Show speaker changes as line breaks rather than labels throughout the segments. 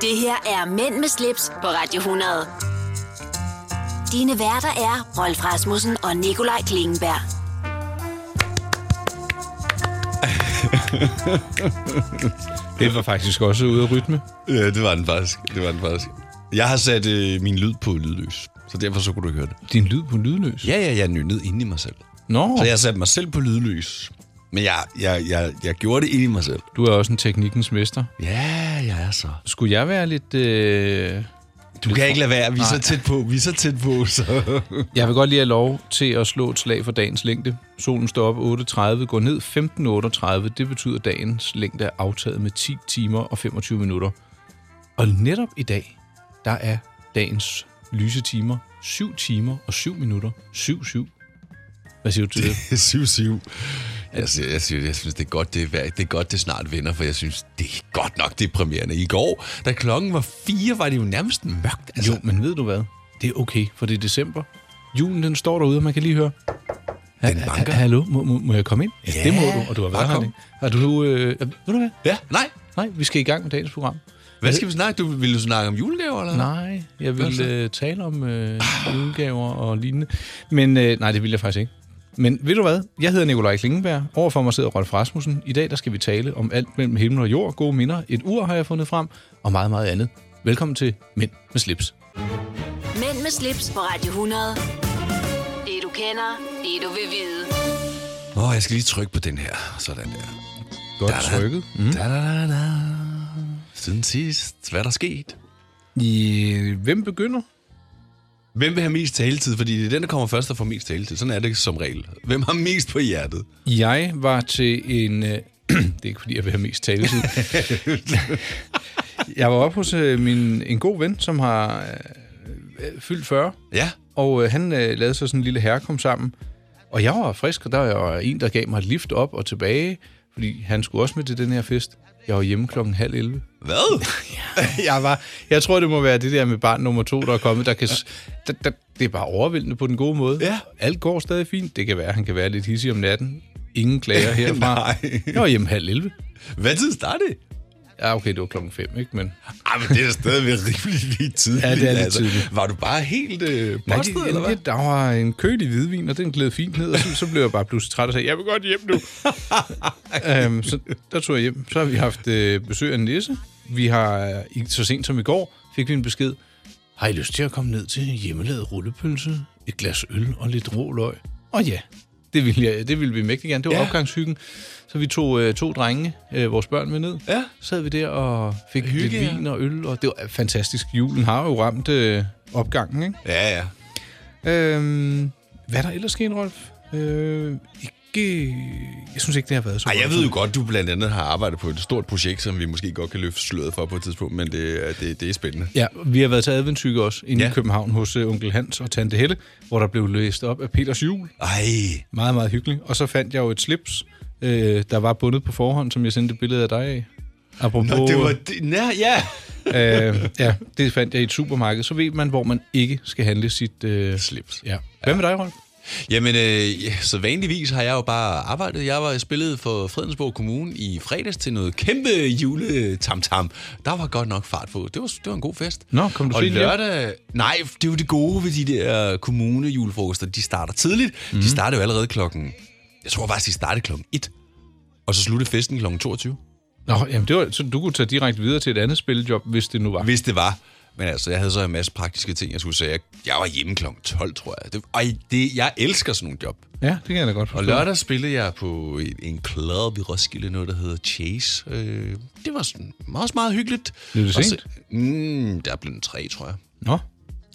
Det her er Mænd med slips på Radio 100. Dine værter er Rolf Rasmussen og Nikolaj Klingenberg.
Det var faktisk også ude af rytme.
Ja, det var den faktisk. Det var den faktisk. Jeg har sat øh, min lyd på lydløs, så derfor så kunne du ikke høre det.
Din lyd på lydløs.
Ja, ja, jeg er nynnet inde i mig selv.
Nå,
Så jeg satte mig selv på lydløs. Men jeg, jeg, jeg, jeg gjorde det inde i mig selv.
du er også en teknikkens mester.
Ja, jeg er så.
Skulle jeg være lidt... Øh...
Du kan ikke lade være. Vi er så tæt på. Vi er så tæt på, så...
Jeg vil godt lige have lov til at slå et slag for dagens længde. Solen står op 8.30, går ned 15.38. Det betyder, at dagens længde er aftaget med 10 timer og 25 minutter. Og netop i dag, der er dagens lyse timer 7 timer og 7 minutter. 7-7. Hvad siger du til det?
7-7. Jeg, siger, jeg, siger, jeg synes, det er godt, det er, vær- det er godt, det snart vinder, for jeg synes, det er godt nok deprimerende. I går, da klokken var fire, var det jo nærmest mørkt. Altså,
Jo, men ved du hvad? Det er okay, for det er december. Julen, den står derude, og man kan lige høre.
Den
Ha-
banker.
ha- Hallo, må, må, må jeg komme ind? Ja, det må du, og du har
bare
været her.
kom.
længe. Har du... Øh, ved du hvad?
Ja, nej.
Nej, vi skal i gang med dagens program.
Hvad skal vi snakke? Du, vil du snakke om julegaver, eller?
Nej, jeg
så?
vil øh, tale om øh, julegaver og lignende. Men øh, nej, det vil jeg faktisk ikke. Men ved du hvad? Jeg hedder Nikolaj Klingenberg. Overfor mig sidder Rolf Rasmussen. I dag der skal vi tale om alt mellem himmel og jord, gode minder, et ur har jeg fundet frem, og meget, meget andet. Velkommen til Mænd med slips.
Mænd med slips på Radio 100. Det du kender, det du vil vide.
Åh, oh, jeg skal lige trykke på den her. Sådan der.
Godt
Da-da.
trykket.
Mm. Da, da, da, da. Siden sidst. Hvad er der sket?
I, øh, hvem begynder?
Hvem vil have mest taletid? Fordi det er den, der kommer først og får mest taletid. Sådan er det som regel. Hvem har mest på hjertet?
Jeg var til en... Øh, det er ikke, fordi jeg vil have mest taletid. jeg var oppe hos øh, min, en god ven, som har øh, fyldt 40,
Ja.
og øh, han øh, lavede så sådan en lille herrekom sammen. Og jeg var frisk, og der var en, der gav mig et lift op og tilbage, fordi han skulle også med til den her fest. Jeg var hjemme klokken halv 11.
Hvad?
jeg, var, jeg tror, det må være det der med barn nummer to, der er kommet. Der kan, s- der, der, det er bare overvældende på den gode måde.
Ja.
Alt går stadig fint. Det kan være, han kan være lidt hissig om natten. Ingen klager herfra.
Nej.
Jeg var hjemme halv 11.
Hvad tid startede det?
Ja, okay, det var klokken 5, ikke? Men
Ej, men det er da stadigvæk rimelig lige tidligt. altså.
Ja, det er lidt tidligt.
Var du bare helt øh,
Nej,
postet,
det,
eller hvad?
det, der var en kølig hvidvin, og den gled fint ned, og så, så blev jeg bare pludselig træt og sagde, jeg vil godt hjem nu. øhm, så der tog jeg hjem. Så har vi haft øh, besøg af en Nisse. Vi har, øh, i- så sent som i går, fik vi en besked. Har I lyst til at komme ned til hjemmelavet rullepølse, et glas øl og lidt rå løg? Og ja, det ville, jeg, det ville vi mægtig gerne. Det var
Ja.
ja. opgangshyggen. Så vi tog øh, to drenge, øh, vores børn med ned.
Ja.
Så sad vi der og fik Hygge,
Hygge,
lidt
ja.
vin og øl, og det var fantastisk. Julen har jo ramt øh, opgangen, ikke?
Ja, ja.
Øhm, hvad er der ellers sket, Rolf? Øh, ikke... Jeg synes ikke, det har været så
Ej, jeg
godt.
ved jo godt, du blandt andet har arbejdet på et stort projekt, som vi måske godt kan løfte sløret for på et tidspunkt, men det, er- det, det er spændende.
Ja, vi har været til adventsyke også, inde ja.
Ja.
i København hos uh, onkel Hans og tante Helle, hvor der blev læst op af Peters jul.
Ej,
Meget, meget hyggeligt. Og så fandt jeg jo et slips, øh, der var bundet på forhånd, som jeg sendte et billede af dig af. Apropos,
Nå, det var... Det, nej, ja.
øh, ja, det fandt jeg i et supermarked. Så ved man, hvor man ikke skal handle sit øh,
Slips.
Ja. Hvad med dig, Rolf?
Jamen, øh, ja, så vanligvis har jeg jo bare arbejdet. Jeg var spillet for Fredensborg Kommune i fredags til noget kæmpe juletamtam. Der var godt nok fart på. Det var, det var en god fest.
Nå, kom du
Og
sent hjem?
lørdag... Nej, det er jo det gode ved de der kommunejulefrokoster. De starter tidligt. Mm.
Mhm.
De starter jo allerede klokken... Jeg tror faktisk, de startede klokken 1. Og så sluttede festen klokken 22.
Nå, jamen det var, så du kunne tage direkte videre til et andet spillejob, hvis det nu var.
Hvis det var. Men altså, jeg havde så en masse praktiske ting, jeg skulle sige. Jeg, jeg var hjemme klokken 12, tror jeg. Det, og det, jeg elsker sådan nogle job.
Ja, det kan jeg da godt
Og
forstå.
lørdag spillede jeg på en, en club i Roskilde, noget der hedder Chase. Øh, det var sådan, også meget hyggeligt.
Blev det
Og så-
sent?
Mm, der blev den tre, tror jeg.
Nå,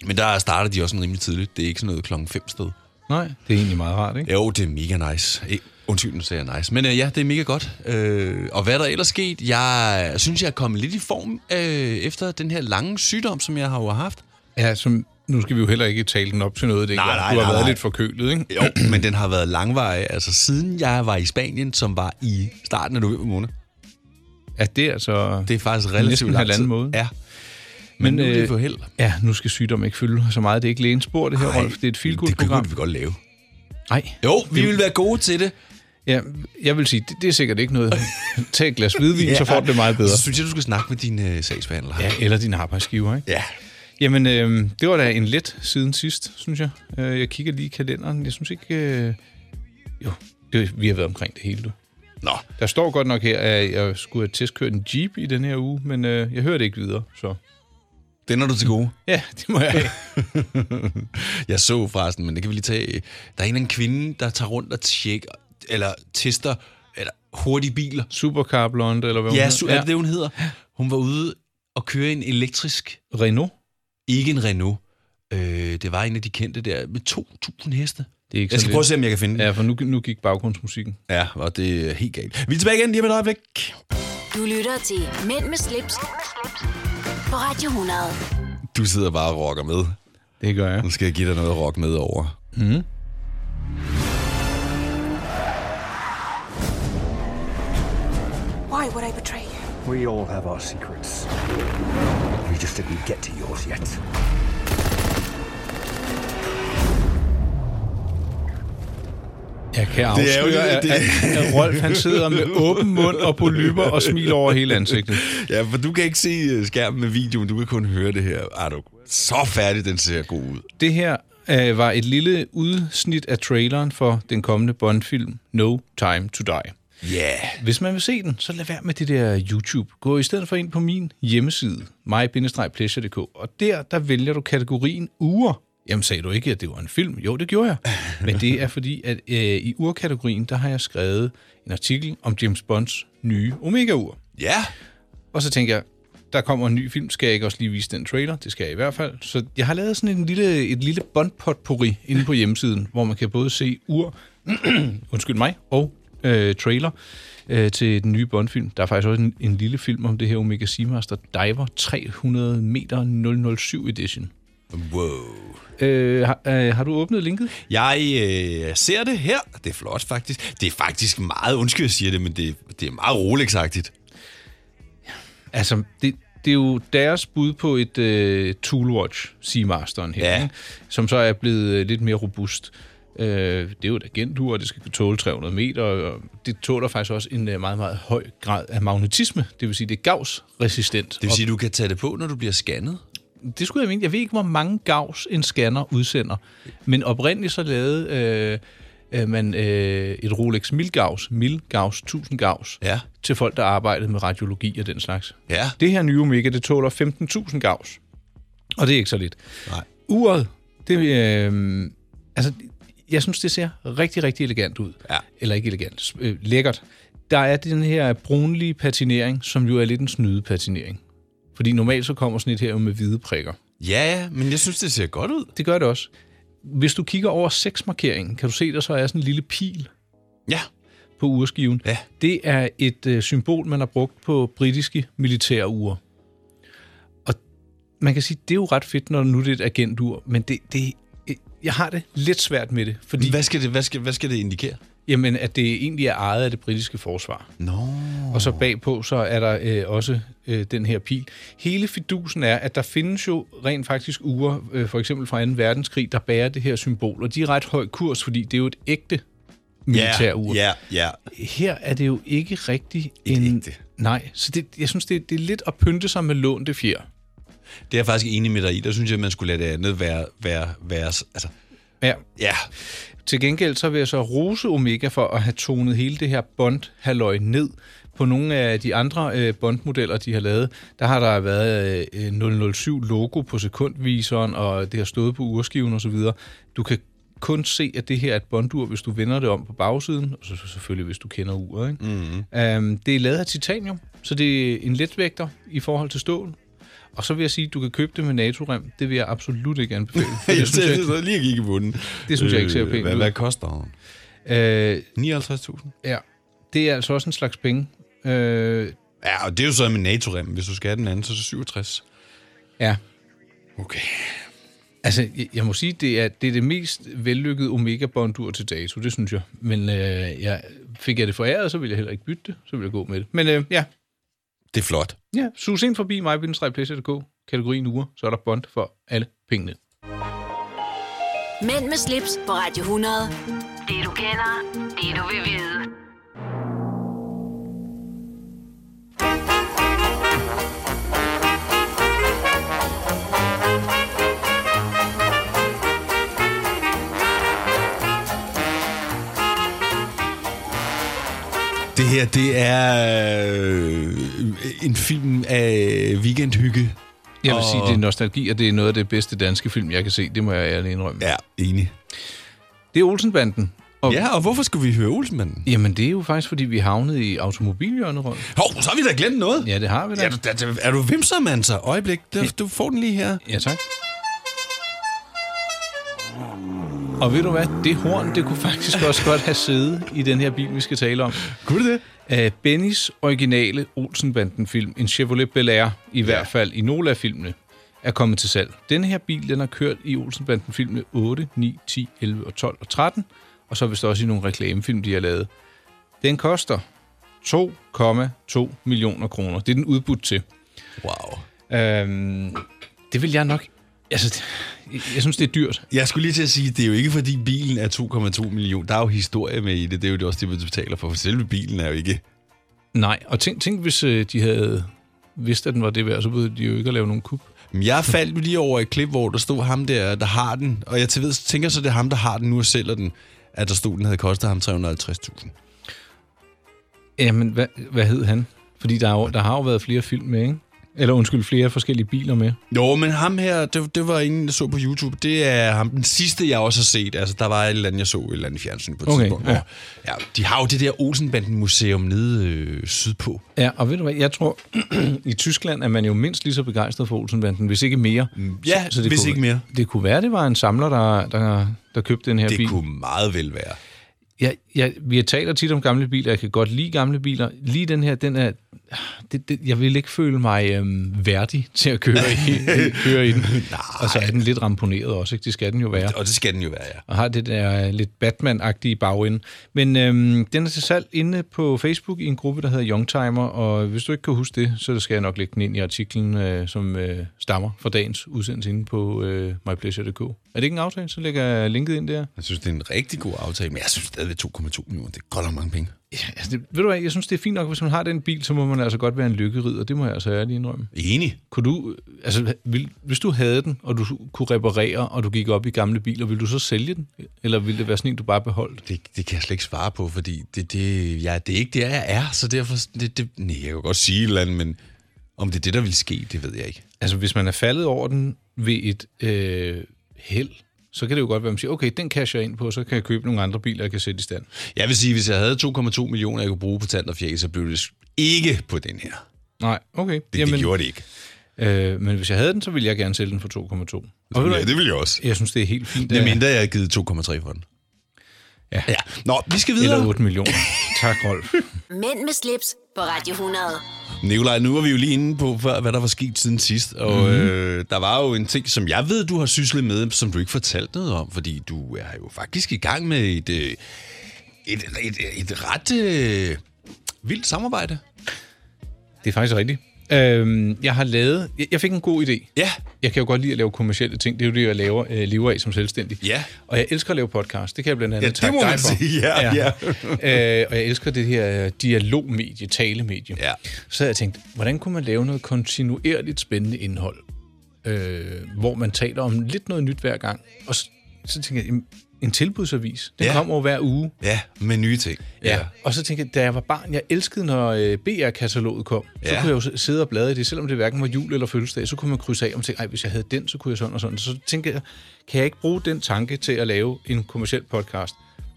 Men der starter de også sådan rimelig tidligt. Det er ikke sådan noget klokken fem sted.
Nej, det er egentlig meget rart, ikke?
Jo, det er mega nice. Eh, Undskyld, nu sagde jeg nice. Men øh, ja, det er mega godt. Øh, og hvad er der ellers sket? Jeg synes, jeg er kommet lidt i form øh, efter den her lange sygdom, som jeg har jo haft.
Ja, som, nu skal vi jo heller ikke tale den op til noget, det
Nej,
nej,
nej,
nej, Du har
nej,
været
nej.
lidt forkølet, ikke?
Jo, men den har været langvarig. Altså, siden jeg var i Spanien, som var i starten af november måned.
Ja, det er altså...
Det er faktisk relativt
Næsten
lang
halvanden
tid.
måned.
Ja. Men, Men nu er
øh,
det for held.
Ja, nu skal sygdom ikke fylde så meget. Det er ikke lægens spor, det her, Rolf. Det er et
det kunne
filgudprogram.
vi godt lave.
Nej,
Jo, vi vil være gode til det.
Ja, jeg vil sige, det, det er sikkert ikke noget. Tag et glas hvidvin, ja. så får du det meget bedre.
Så synes jeg, du skal snakke med din øh, sagsbehandler.
Ja, eller din arbejdsgiver, ikke?
ja.
Jamen, øh, det var da en let siden sidst, synes jeg. Øh, jeg kigger lige i kalenderen. Jeg synes ikke... Øh, jo, det, vi har været omkring det hele, du.
Nå,
Der står godt nok her, at jeg skulle have testkørt en Jeep i den her uge, men øh, jeg hører det ikke videre, så...
den er du til gode.
Ja, det må jeg have.
Jeg så forresten, men det kan vi lige tage. øh, Der er en eller anden kvinde, der tager rundt og tjekker, eller tester, eller hurtige biler.
Supercar Blonde, eller hvad hun
Ja,
hedder.
su- er det det, hun hedder? Hun var ude og køre en elektrisk,
Renault.
ikke en Renault. Øh, det var en af de kendte der, med 2.000 heste.
Det er ikke
Jeg skal
sådan
prøve at
lidt-
se, om jeg kan finde den.
Ja, for nu, nu gik baggrundsmusikken.
Ja, og det er helt galt. Vi er tilbage igen lige om et øjeblik.
Du lytter til Mænd med slips, på Radio 100.
Du sidder bare og rocker med.
Det gør jeg.
Nu skal jeg give dig noget at rock med over.
Why would I betray you?
We all have our secrets. We just didn't get to yours yet.
Jeg kan
Det er jo
afsløre, at,
lidt-
at, at Rolf han sidder med åben mund og polypper og smiler over hele ansigtet.
Ja, for du kan ikke se øh, skærmen med videoen, du kan kun høre det her. Er du så færdig, den ser god ud.
Det her øh, var et lille udsnit af traileren for den kommende Bond-film No Time To Die.
Ja. Yeah.
Hvis man vil se den, så lad være med det der YouTube. Gå i stedet for ind på min hjemmeside, mig-pleasure.dk, og der, der vælger du kategorien uger. Jamen sagde du ikke, at det var en film? Jo, det gjorde jeg. Men det er fordi, at øh, i urkategorien, der har jeg skrevet en artikel om James Bonds nye Omega-ur.
Ja.
Og så tænker jeg, der kommer en ny film, skal jeg ikke også lige vise den trailer? Det skal jeg i hvert fald. Så jeg har lavet sådan en lille, et lille bondpotpourri inde på hjemmesiden, hvor man kan både se ur, undskyld mig, og øh, trailer øh, til den nye Bond-film. Der er faktisk også en, en lille film om det her Omega Seamaster Diver 300 meter 007 edition.
Wow.
Øh, har, øh, har du åbnet linket?
Jeg øh, ser det her. Det er flot, faktisk. Det er faktisk meget, undskyld, jeg siger det, men det, det er meget rolex -agtigt.
Altså, det, det er jo deres bud på et øh, Toolwatch Seamasteren her,
Ja.
ikke? som så er blevet øh, lidt mere robust. Øh, det er jo et agentur, og det skal kunne tåle 300 meter, og det tåler faktisk også en øh, meget, meget høj grad af magnetisme, det vil sige, det er gavsresistent.
Det vil sige, at du kan tage det på, når du bliver scannet.
Og det skulle jeg mene, jeg ved ikke, hvor mange gavs en scanner udsender, men oprindeligt så lavede øh, øh, man øh, et Rolex Milgavs, Milgavs 1000 gavs,
Ja.
til folk, der arbejdede med radiologi og den slags.
Ja.
Det her nye Omega, det tåler 15.000 gavs. Og det er ikke så lidt.
Nej.
Uret, det, øh, altså, jeg synes, det ser rigtig, rigtig elegant ud.
Ja.
Eller ikke elegant, s- øh, lækkert. Der er den her brunlige patinering, som jo er lidt en snydepatinering. Fordi normalt så kommer sådan et her jo med hvide prikker.
Ja, ja, men jeg synes, det ser godt ud.
Det gør det også. Hvis du kigger over seksmarkeringen, kan du se, der så er sådan en lille pil
Ja.
på urskiven.
Ja.
Det er et øh, symbol, man har brugt på britiske militære ure. Og man kan sige, det er jo ret fedt, når nu det er et agentur, men det, det, øh, jeg har det lidt svært med det, fordi
Hvad skal det, hvad skal, hvad skal det indikere?
jamen, at det egentlig er ejet af det britiske forsvar.
Nå.
Og så bagpå, så er der øh, også øh, den her pil. Hele fidusen er, at der findes jo rent faktisk uger, øh, for eksempel fra 2. verdenskrig, der bærer det her symbol, og de er ret høj kurs, fordi det er jo et ægte militær ur
Ja, ja.
her er det jo ikke rigtig
Ikke
en...
ægte.
Nej, så det, jeg synes, det, det er lidt at pynte sig med lånte fjer.
Det er jeg faktisk enig med dig i. Der synes jeg, man skulle lade det andet være... være, være altså,
Ja.
ja.
Til gengæld så vil jeg så rose Omega for at have tonet hele det her bond halløj ned. På nogle af de andre øh, bondmodeller, de har lavet, der har der været øh, 007-logo på sekundviseren, og det har stået på urskiven osv. Du kan kun se, at det her er et bondur, hvis du vender det om på bagsiden, og så så selvfølgelig, hvis du kender uret. Ikke? Mm-hmm. Um, det er lavet af titanium, så det er en letvægter i forhold til stål. Og så vil jeg sige, at du kan købe det med NATO-rem. Det vil jeg absolut ikke anbefale. for
Jeg
synes jeg-
sidder lige og kigger på den.
Det synes jeg ikke ser
Øh,
pænt
hvad,
ud.
Hvad koster den?
Øh,
59.000.
Ja, det er altså også en slags penge. Øh,
Ja, og det er jo så med NATO-rem. Hvis du skal have den anden, så er det 67.
ja,
Okay.
altså jeg, jeg må sige, det er det, er det mest vellykkede Omega-bondur til dato, det synes jeg. Men øh, jeg, fik jeg det foræret, så ville jeg heller ikke bytte det, så ville jeg gå med det. Men øh, ja,
Det er flot.
ja, sus ind forbi mig, kategorien uger, så er der bond for alle pengene.
Mænd med slips på Radio 100. Det du kender, det du vil vide.
Det her, det er øh, en film af weekendhygge.
Jeg vil sige, det er nostalgi, og det er noget af det bedste danske film, jeg kan se. Det må jeg ærligt indrømme.
Ja, enig.
Det er Olsenbanden. Og,
Ja, og hvorfor skulle vi høre Olsenmanden?
Jamen, det er jo faktisk, fordi vi havnede i automobilhjørnet rundt.
Hov, så har vi da glemt noget.
Ja, det har vi da.
Er du, er, du- er du vimser, mand, så? Øjeblik, du, du får den lige her.
Ja, tak. Og ved du hvad? Det horn, det kunne faktisk også godt have siddet i den her bil, vi skal tale om.
Kunne det det?
Af Bennys originale Olsenbanden-film, en Chevrolet Bel Air, i ja. hvert fald i nogle af filmene, er kommet til salg. Den her bil, den har kørt i Olsenbanden-filmene 8, 9, 10, 11 og 12 og 13, og så vist også i nogle reklamefilm, de har lavet. Den koster 2,2 millioner kroner. Det er den udbudt til.
Wow.
Øhm, det vil jeg nok... Altså, det- jeg, jeg synes, det er dyrt.
Jeg skulle lige til at sige, det er jo ikke fordi bilen er 2,2 millioner. Der er jo historie med i det. Det er jo det også det, du betaler for. For selve bilen er jo ikke...
Nej, og tænk, tænk hvis øh, de havde vidst, at den var det værd, så behøvede de jo ikke at lave nogen kub.
Men Jeg faldt jo lige over et klip, hvor der stod ham der, der har den. Og jeg til ved, tænker så, det er ham, der har den nu og sælger den. At der stod, den havde kostet ham 350.000.
Jamen, hvad, hvad hed han? Fordi der, er jo, der har jo været flere film med, ikke? Eller undskyld, flere forskellige biler med.
Jo, men ham her, det, det var ingen, der så på YouTube. Det er ham den sidste, jeg også har set. Altså, der var et eller andet, jeg så et eller andet fjernsyn på et
Okay,
tidspunkt.
ja.
hvor- ja. De har jo det der Olsenbanden-museum nede øh, sydpå.
Ja, og ved du hvad, jeg tror, i Tyskland er man jo mindst lige så begejstret for Olsenbanden, hvis ikke mere.
ja, hvis
kunne,
ikke mere.
Det kunne være, det var en samler, der, der, der købte den her
Det
bil.
kunne meget vel være.
Jeg, jeg, vi taler tit om gamle biler, jeg kan godt lide gamle biler. Lige den her, den er... Det, det, jeg vil ikke føle mig øhm, værdig til at køre i, køre i den. Og så er den lidt ramponeret også, ikke? Det skal den jo være.
Og det skal den jo være, ja.
Og har det der øh, lidt Batman-agtige bagende. Men øhm, den er til salg inde på Facebook i en gruppe, der hedder Youngtimer. Og hvis du ikke kan huske det, så skal jeg nok lægge den ind i artiklen, øh, som øh, stammer fra dagens udsendelse inde på øh, mypleasure.dk. Er det ikke en aftale? Så lægger jeg linket ind der.
Jeg synes, det er en rigtig god aftale, men jeg synes stadigvæk 2,2 millioner, det er godt nok mange penge.
Ja, altså det, ved du hvad, jeg synes, det er fint nok, hvis man har den bil, så må man altså godt være en lykkerider. Det må jeg altså ærligt indrømme.
Enig.
Kunne du, altså, vil, hvis du havde den, og du kunne reparere, og du gik op i gamle biler, ville du så sælge den? Eller ville det være sådan en, du bare beholdt?
Det, det kan jeg slet ikke svare på, fordi det, det, ja, det er ikke det, jeg er, så derfor... Det, det, nej, jeg kan godt sige et eller andet, men om det er det, der vil ske, det ved jeg ikke.
Altså, hvis man er faldet over den ved et øh, held, så kan det jo godt være, at man siger, okay, den casher jeg ind på, så kan jeg købe nogle andre biler, jeg kan sætte i stand.
Jeg vil sige, hvis jeg havde 2,2 millioner, jeg kunne bruge på tand og fjæl, så blev det ikke på den her.
Nej, okay.
Det, Jamen, det gjorde det ikke.
øh, men hvis jeg havde den, så ville jeg gerne sælge den for 2,2. Og ved du,
Ja,
hvad,
det ville jeg også.
jeg synes, det er helt fint.
Det
at-
mindre, jeg havde givet 2,3 for den.
Ja.
ja. Nå, vi skal videre.
øh, Eller 8 millioner. Tak, Rolf.
Mænd med slips på Radio 100.
Nikolaj, nu var vi jo lige inde på, hvad hvad der var sket siden sidst, og
Mhm.
mm-hmm. øh, der var jo en ting, som jeg ved, du har syslet med, som du ikke fortalte noget om, fordi du er jo faktisk i gang med et, øh, et, et, et ret øh, vildt samarbejde.
Det er faktisk rigtigt. Øhm, jeg har lavet... Jeg, jeg fik en god idé.
Ja.
Jeg kan jo godt lide at lave kommersielle ting. Det er jo det, jeg laver, øh, lever af som selvstændig.
Ja.
Og jeg elsker at lave podcast. Det kan jeg blandt andet
Ja, det
takke
må
dig
man
for.
sige. Ja,
øh, og jeg elsker det her øh, dialogmedie, talemedie.
Ja.
Så havde jeg tænkt, hvordan kunne man lave noget kontinuerligt spændende indhold, øh, hvor man taler om lidt noget nyt hver gang. Og så, så tænkte jeg, jamen, en tilbudsavis, den
Ja.
kommer jo hver uge.
Ja, med nye ting.
Ja. Og så tænkte jeg, da jeg var barn, jeg elskede, når øh, BR-kataloget kom. Så
Ja.
kunne jeg jo s- sidde og bladre i det, selvom det hverken var jul eller fødselsdag. Så kunne man krydse af og tænke, "Ej, hvis jeg havde den, så kunne jeg sådan og sådan. Så tænkte jeg, kan jeg ikke bruge den tanke til at lave en kommersiel podcast?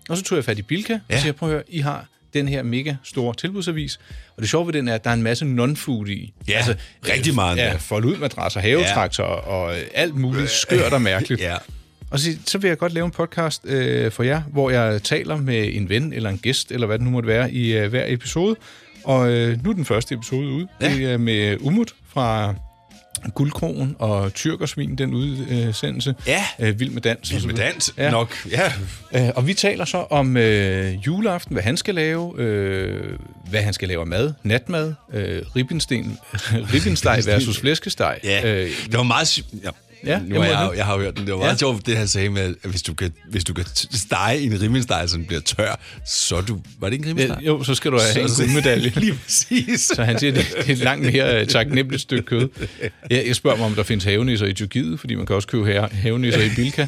Og så tog jeg fat i Bilka, ja.
Ja.
og siger, prøv at høre, I har den her mega store tilbudsavis. Og det sjove ved den er, at der er en masse non-food i. Altså,
Ja, rigtig meget endda.
Ja, fold ud madrasser, havetraktorer og øh, alt muligt skørt og mærkeligt.
Ja.
Og så, så vil jeg godt lave en podcast øh, for jer, hvor jeg taler med en ven eller en gæst, eller hvad det nu måtte være, i øh, hver episode. Og øh, nu er den første episode ude. Ja. Det er med Umut fra Guldkrogen og Tyrkersvin, den udsendelse.
Ja.
Øh, Vild med dans. og så
Med
videre.
dans ja. nok. Ja.
Øh, og vi taler så om øh, juleaften, hvad han skal lave, øh, hvad han skal lave af mad, natmad, øh, ribbensten, ribbensteg versus flæskesteg.
ja.
Øh,
det var meget... sy- Ja.
Ja,
nu
jeg
er
må
jeg,
nu.
jeg, jeg har jo hørt den. Det var meget ja. sjovt, det han sagde med, at hvis du kan, hvis du kan t- stege en rimmelsteg, så den bliver tør, så er du... Var det ikke en rimmelsteg?
Ja, jo, så skal du have en guldmedalje.
Lige præcis.
Så han siger, det det er et langt mere øh, taknemmeligt stykke kød. Jeg, jeg spørger mig, om der findes havenisser i Tyrkiet, fordi man kan også købe have- havenisser i Bilka.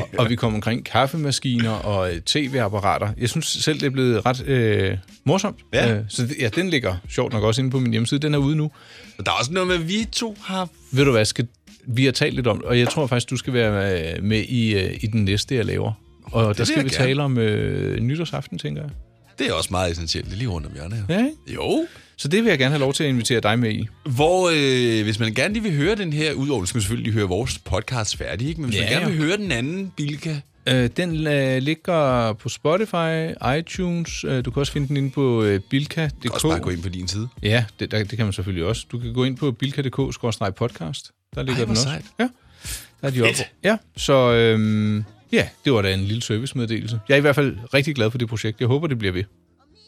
Og, og vi kommer omkring kaffemaskiner og øh, tv-apparater. Jeg synes selv, det er blevet ret øh, morsomt.
Ja.
Øh, så det, ja, den ligger sjovt nok også inde på min hjemmeside. Den er ude nu.
Og der er også noget med, at vi to har...
Ved du hvad, skal, vi har talt lidt om det, og jeg tror faktisk, du skal være øh, med i, øh, i den næste, jeg laver. Og der
vil
skal
jeg
vi
gerne.
tale om øh, nytårsaften, tænker jeg.
Det er også meget essentielt. Det er lige rundt om hjørnet her.
Ja, ikke?
Jo.
Så det vil jeg gerne have lov til at invitere dig med i.
Hvor, øh, hvis man gerne lige vil høre den her, udover skal man selvfølgelig høre vores podcast færdig, ikke? men hvis
Ja,
man gerne
jo.
vil høre den anden Bilka,
Øh, den øh, ligger på Spotify, iTunes. Øh, du kan også finde den inde på øh,
kan også bare gå
bilka.dk.
ind på din side.
Ja, det, der, det kan man selvfølgelig også. Du kan gå ind på bilka.dk-podcast. Der ligger
hvor
den også.
sejt.
Ja, der er de oppe. Ja, så øhm, ja, det var da en lille servicemeddelelse. Jeg er i hvert fald rigtig glad for det projekt. Jeg håber, det bliver ved.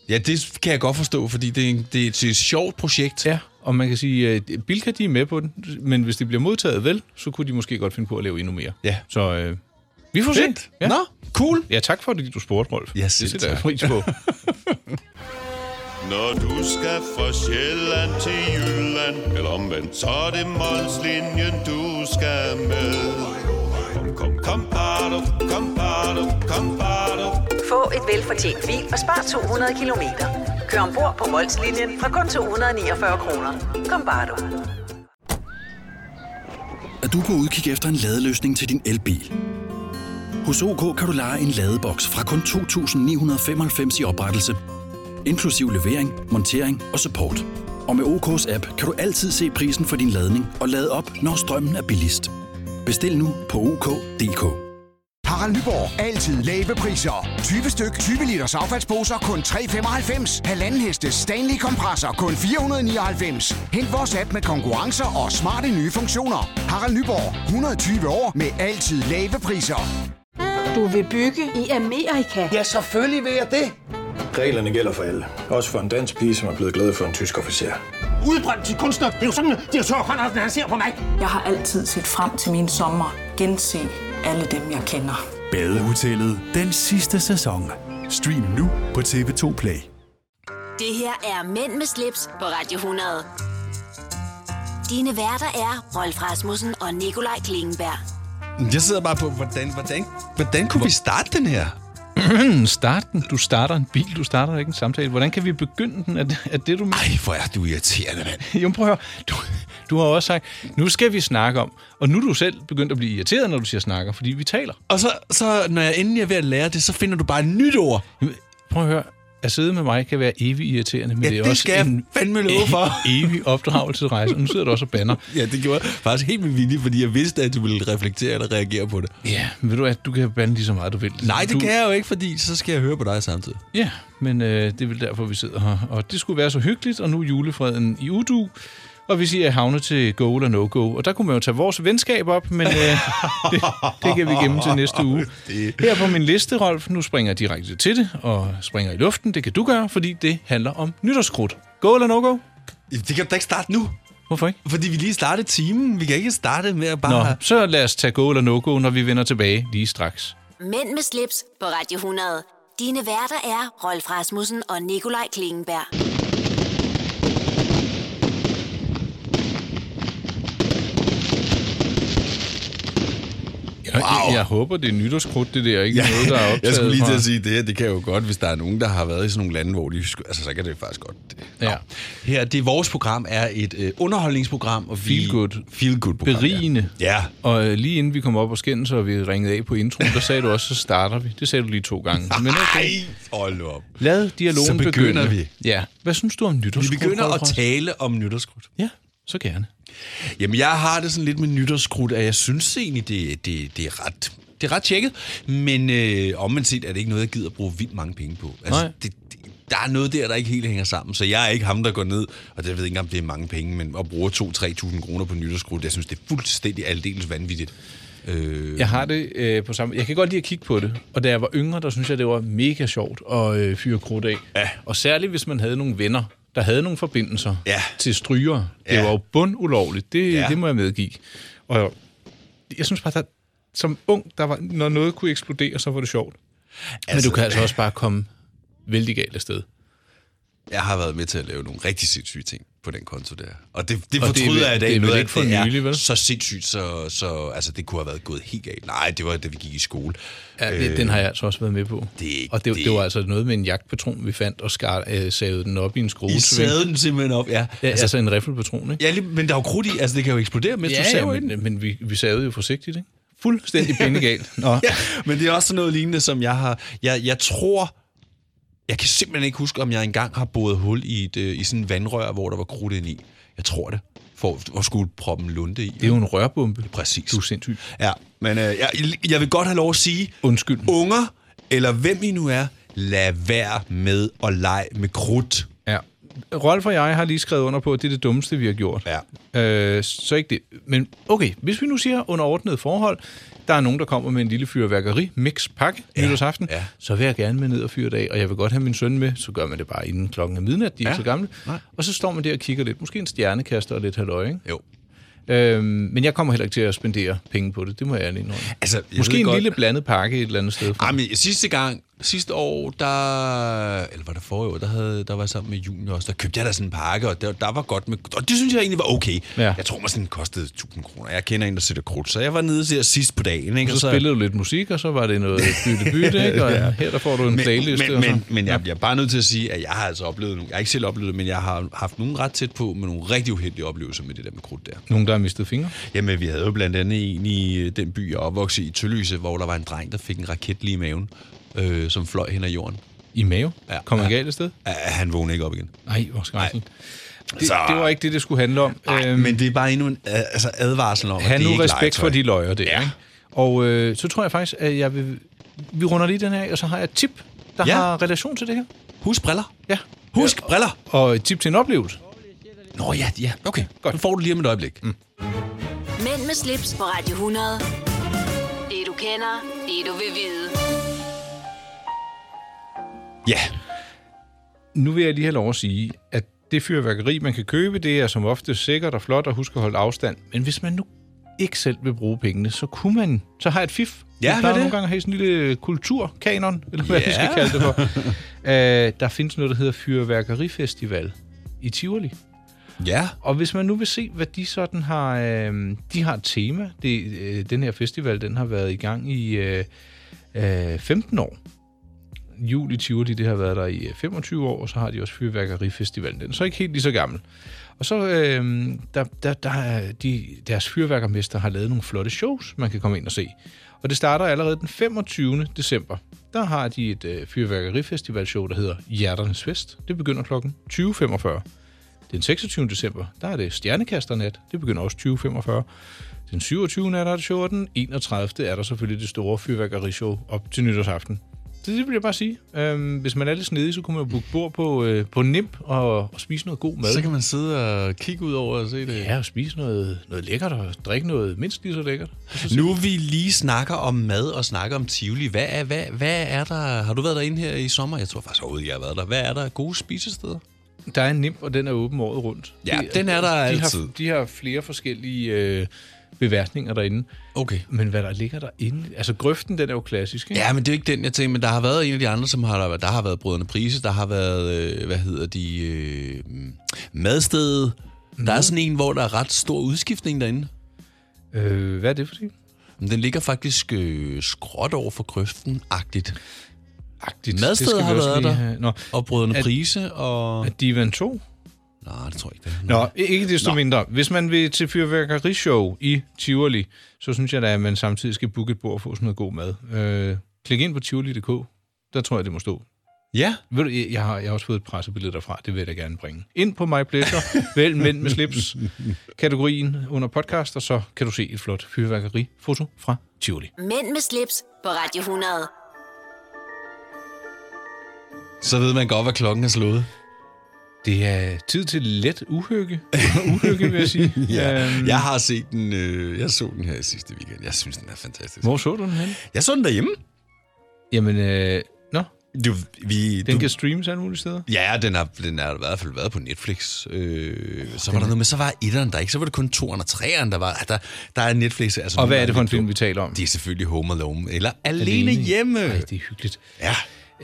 Ja, det kan jeg godt forstå, fordi det er, en, det er et, det er et sjovt projekt.
Ja, og man kan sige, at Bilka de er med på den, men hvis det bliver modtaget vel, så kunne de måske godt finde på at lave endnu mere.
Ja.
Så øh, vi får se.
Ja. Nå, cool.
Ja, tak for det, du spurgte, Rolf.
Ja,
det
selv
sætter jeg
tak.
pris på.
Når du skal fra Sjælland til Jylland Eller omvendt, så er det Molslinjen, du skal med Kom, kom, kom, bado, kom, bado, kom, bado.
Få et velfortjent bil og spar 200 kilometer. Kør ombord på Molslinjen fra kun 249 kroner. Kom bare du.
Er du på udkig efter en ladeløsning til din elbil? Hos OK kan du lege en ladeboks fra kun 2.995 i oprettelse, inklusiv levering, montering og support. Og med OK's app kan du altid se prisen for din ladning og lade op, når strømmen er billigst. Bestil nu på OK.dk.
Harald Nyborg. Altid lave priser. 20 styk, 20 liters affaldsposer kun 3,95. Halvanden heste Stanley kompresser kun 499. Hent vores app med konkurrencer og smarte nye funktioner. Harald Nyborg. 120 år med altid lave priser.
Du vil bygge i Amerika?
Ja, selvfølgelig vil jeg det.
Reglerne gælder for alle. Også for en dansk pige, som er blevet glad for en tysk officer.
Udbrændt til kunstner. Det er jo sådan, at de har han ser på mig.
Jeg har altid set frem til min sommer. Gense alle dem, jeg kender.
Badehotellet den sidste sæson. Stream nu på TV2 Play.
Det her er Mænd med slips på Radio 100. Dine værter er Rolf Rasmussen og Nikolaj Klingenberg.
Jeg sidder bare på, hvordan, hvordan, hvordan kunne vi starte den her?
Start den. Du starter en bil, du starter ikke en samtale. Hvordan kan vi begynde den? Er det, er det du mener?
Ej, hvor er du irriterende, mand.
Jamen prøv at høre. Du, du har også sagt, nu skal vi snakke om. Og nu er du selv begyndt at blive irriteret, når du siger snakker, fordi vi taler.
Og så, så når jeg endelig er ved at lære det, så finder du bare et nyt ord.
Jamen, Prøv at høre. At sidde med mig kan være evig irriterende, men
Ja,
det er
det
også
skal jeg
en
fandme love for.
evig opdragelsesrejse. Nu sidder du også og banner.
Ja, det gjorde jeg faktisk helt med vilje, fordi jeg vidste, at du ville reflektere eller reagere på det.
Ja, men ved du at du kan bande lige så meget, du vil.
Nej, det
du,
du... kan jeg jo ikke, fordi så skal jeg høre på dig samtidig.
Ja, men øh, det er vel derfor, vi sidder her. Og det skulle være så hyggeligt, og nu er julefreden i udu. Og vi siger havne til go eller no-go. Og der kunne man jo tage vores venskab op, men øh, det, det kan vi gemme til næste uge. Her på min liste, Rolf, nu springer jeg direkte til det, og springer i luften. Det kan du gøre, fordi det handler om nytårskrudt. Go eller no-go?
Det kan du da ikke starte nu,
Hvorfor ikke?
fordi vi lige startede timen. Vi kan ikke starte med at
Nå,
bare...
så lad os tage go eller no-go, når vi vender tilbage lige straks.
Mænd med slips på Radio 100. Dine værter er Rolf Rasmussen og Nikolaj Klingenberg.
Jeg, wow. jeg håber, det er nytårskrudt, det der. Ikke ja, noget, der er optaget
jeg skulle lige til
fra-
at sige, det her, det kan jo godt, hvis der er nogen, der har været i sådan nogle lande, hvor de... sku- Altså, så kan det faktisk godt... Nå.
Ja.
Her, det er vores program, er et øh, underholdningsprogram, og vi...
Feel good.
Feel good program,
Berigende.
Ja.
Og øh, lige inden vi kom op og skændes, og vi ringede af på introen, der sagde du også, så starter vi. Det sagde du lige to gange.
ja.
Men okay.
Ej, hold nu op.
Lad dialogen
Så begynder
begynde.
vi.
Ja. Hvad synes du om
Vi
nytårskrudt?
begynder at
Rolf Rasmussen?
tale om nytårskrudt.
Ja, så gerne.
Jamen, jeg har det sådan lidt med nytårskrudt, at jeg synes egentlig, det, det, det er ret... Det er ret tjekket, men øh, omvendt set er det ikke noget, jeg gider at bruge vildt mange penge på. Altså,
Nej.
Det, det, der er noget der, der ikke helt hænger sammen, så jeg er ikke ham, der går ned, og det jeg ved jeg ikke, om det er mange penge, men at bruge 2-3.000 kroner på nytårskrudt, jeg synes, det er fuldstændig aldeles vanvittigt. Øh,
Jeg har det øh, på samme Jeg kan godt lide at kigge på det. Og da jeg var yngre, der synes jeg, det var mega sjovt at øh, fyre krudt af. Ja. Og særligt, hvis man havde nogle venner, der havde nogle forbindelser
Ja.
til stryger. Det
Ja.
var jo bundulovligt. Det,
Ja.
det må jeg medgive. Og jeg synes bare, der, som ung, der var, når noget kunne eksplodere, så var det sjovt. Altså, Men
Altså-
du kan altså også bare komme vældig galt af sted.
Jeg har været med til at lave nogle rigtig sindssyge ting på den konto der. Og det, det
Og det er
fortryder
vel-
jeg i
det
dag.
er vel
noget af
ikke for nylig,
vel? Så sindssygt, så, så altså, det kunne have været gået helt galt. Nej, det var da vi gik i skole.
Ja, det, øh, den har jeg altså også været med på.
Det er ikke-
og det,
det
det,
er
det var altså noget med en jagtpatron, vi fandt og skar, øh, savede den op i en skruesving.
I savede den simpelthen op, ja.
Ja, altså,
Altså-
altså en riffelpatron, ikke?
Ja, lige, men der er jo krudt i, altså det kan jo eksplodere, mens
ja,
du saver
ja,
i den.
men, men vi, vi savede jo forsigtigt, ikke? Fuldstændig bindegalt. Nå.
Ja, men det er også sådan noget lignende, som jeg har... Jeg, jeg tror... Jeg kan simpelthen ikke huske, om jeg engang har boret hul i, et, øh, i sådan en vandrør, hvor der var krudt ind i. Jeg tror det. For, for skulle proppen lunde i.
Det er jo en rørbombe.
Præcis.
Du er sindssyg.
Ja, men øh, jeg, jeg vil godt have lov at sige...
Undskyld.
Unger, eller hvem I nu er, lad være med at lege med krudt.
Ja. Rolf og jeg har lige skrevet under på, at det er det dummeste, vi har gjort. Ja. Øh, så ikke det. Men okay, hvis vi nu siger under ordnet forhold, der er nogen, der kommer med en lille fyrværkeri, mix pakke, ja. nytårsaften, ja. så vil jeg gerne med ned og fyre i dag, og jeg vil godt have min søn med, så gør man det bare inden klokken er midnat, de er ja.
Ja.
så gamle.
Nej.
Og så står man der og kigger lidt, måske en stjernekaster og lidt halløj, ikke?
Jo.
Øhm, men jeg kommer heller ikke til at spendere penge på det, det må jeg ærligt indrømme.
Altså, jeg
Måske
ved
en
godt-
lille blandet pakke et eller andet sted.
Ej, men sidste gang, sidste år, der, eller var det forrige år, der, havde, der var jeg sammen med Junior også, der købte jeg da sådan en pakke, og der, der var godt med, og det synes jeg egentlig var okay.
Ja.
Ja. Jeg tror mig sådan, den kostede 1000 kroner. Jeg kender en, der sætter krudt, så jeg var nede til sidst på dagen. Ikke?
Og så spillede du lidt musik, og så var det noget bytte-bytte, ikke? Og ja. her der får du en
men,
playlist.
Men,
og så-
men, men jeg, jeg er bare nødt til at sige, at jeg har altså oplevet nogle, jeg har ikke selv oplevet det, men jeg har haft nogle ret tæt på med nogle rigtig uheldige oplevelser med det der med krudt der.
Nogen, der har mistet fingre?
Jamen, vi havde jo blandt andet en i øh, den by, jeg opvoksede i, Tølløse, hvor der var en dreng, der fik en raket lige i maven, øh, som fløj hen ad jorden.
I mave?
Ja.
Kom han galt et sted?
Ja, han vågnede ikke op igen.
Nej, hvor skrækkeligt. Det,
Så-
det var ikke det, det skulle handle om.
Ej, men det er bare endnu en øh, altså advarsel om, at
Han
det er
nu
ikke
respekt
legetøj.
for de løjer der, ja. ikke? Og øh, så tror jeg faktisk, at jeg vil... Vi runder lige den her af, og så har jeg et tip, der ja.
Ja.
har relation til det her.
Husk briller.
Ja.
Husk briller.
Og et tip til en oplevelse.
Nå ja, ja. Okay, godt. Den får du lige om et øjeblik. Mm.
Mænd med slips på Radio 100. Det du kender, det du vil vide.
Ja.
Nu vil jeg lige have lov at sige, at det fyrværkeri, man kan købe, det er som ofte sikkert og flot, og husk at holde afstand. Men hvis man nu ikke selv vil bruge pengene, så kunne man... Så har jeg et fif.
Ja,
Jeg
hvad
plejer
er det?
nogle gange at have sådan en lille kulturkanon, eller hvad
Ja.
vi skal kalde det for. øh, der findes noget, der hedder Fyrværkerifestival i Tivoli.
Ja.
Og hvis man nu vil se, hvad de sådan har... Øh, de har et tema. Det, øh, den her festival, den har været i gang i øh, øh, 15 år. Jul i Tivoli, det har været der i øh, 25 år, og så har de også Fyrværkerifestivalen. Den er så ikke helt lige så gammel. Og så øh, der, der, der, er de, deres fyrværkermester har lavet nogle flotte shows, man kan komme ind og se. Og det starter allerede den 25. december. Der har de et øh, fyrværkerifestivalshow, der hedder Hjerternes Fest. Det begynder kl. 20.45. Den 26. december, der er det Stjernekasternat. Det begynder også 20.45. Den 27. er der et show, og den 31. er der selvfølgelig det store fyrværkerishow op til nytårsaften. Så det vil jeg bare sige. Øhm, hvis man er lidt snedig, så kunne man jo booke bord på, øh, på NIMP og, og spise noget god mad.
Så kan man sidde og kigge ud over og se det.
Ja, og spise noget, noget lækkert og drikke noget mindst lige så lækkert.
Nu vi lige snakker om mad og snakker om Tivoli. Hvad er, hvad, hvad er der? Har du været derinde her i sommer? Jeg tror faktisk overhovedet, jeg har været der. Hvad er der af gode spisesteder?
Der er en nimp, og den er åben året rundt.
Ja, den er der
de
altid.
Har, de har flere forskellige øh, beværtninger derinde.
Okay.
Men hvad der ligger derinde... Altså, grøften, den er jo klassisk, ikke?
Ja, men det er jo ikke den, jeg tænker, men der har været en af de andre, som har der, der har været Brødrene Prise, der har været, øh, hvad hedder de, øh, Madstedet. Der er sådan en, hvor der er ret stor udskiftning derinde.
Øh, hvad er det for det?
Men den ligger faktisk øh, skråt over for grøften-agtigt.
Agtigt.
Madstedet har været der,
Have. Nå,
og Brødrene
At-
Prise, og...
er Divan 2?
Nej, det tror jeg ikke, det er.
Nå, ikke desto
Nå.
mindre. Hvis man vil til fyrværkerishow i Tivoli, så synes jeg da, at man samtidig skal booke et bord og få sådan noget god mad. Øh, klik ind på tivoli.dk. Der tror jeg, det må stå.
Ja,
Ved du, jeg- jeg har, jeg har også fået et pressebillede derfra, det vil jeg da gerne bringe. Ind på My Pleasure, vælg Mænd med slips, kategorien under podcast, og så kan du se et flot fyrværkeri-foto fra Tivoli.
Mænd med slips på Radio 100.
så ved man godt, hvad klokken er slået.
Det er tid til let uhygge, uhygge vil jeg sige.
Ja,
Øhm,
jeg har set den, øh, jeg så den her i sidste weekend. Jeg synes, den er fantastisk.
Hvor så du den henne?
Jeg så den derhjemme.
Jamen, øh, nå,
Du, vi,
Den kan streames alle mulige steder.
Ja, den har, den har i hvert fald været på Netflix. Øh,
den
så var der
er-
noget, men så var etteren der ikke. Så var det kun toeren og treeren, der var. Ah, Der, der er Netflix. Altså,
Og hvad er det for en
film,
vi taler om?
Det er selvfølgelig Home Alone. Eller Alene, Hjemme.
Ej, det er hyggeligt.
Ja.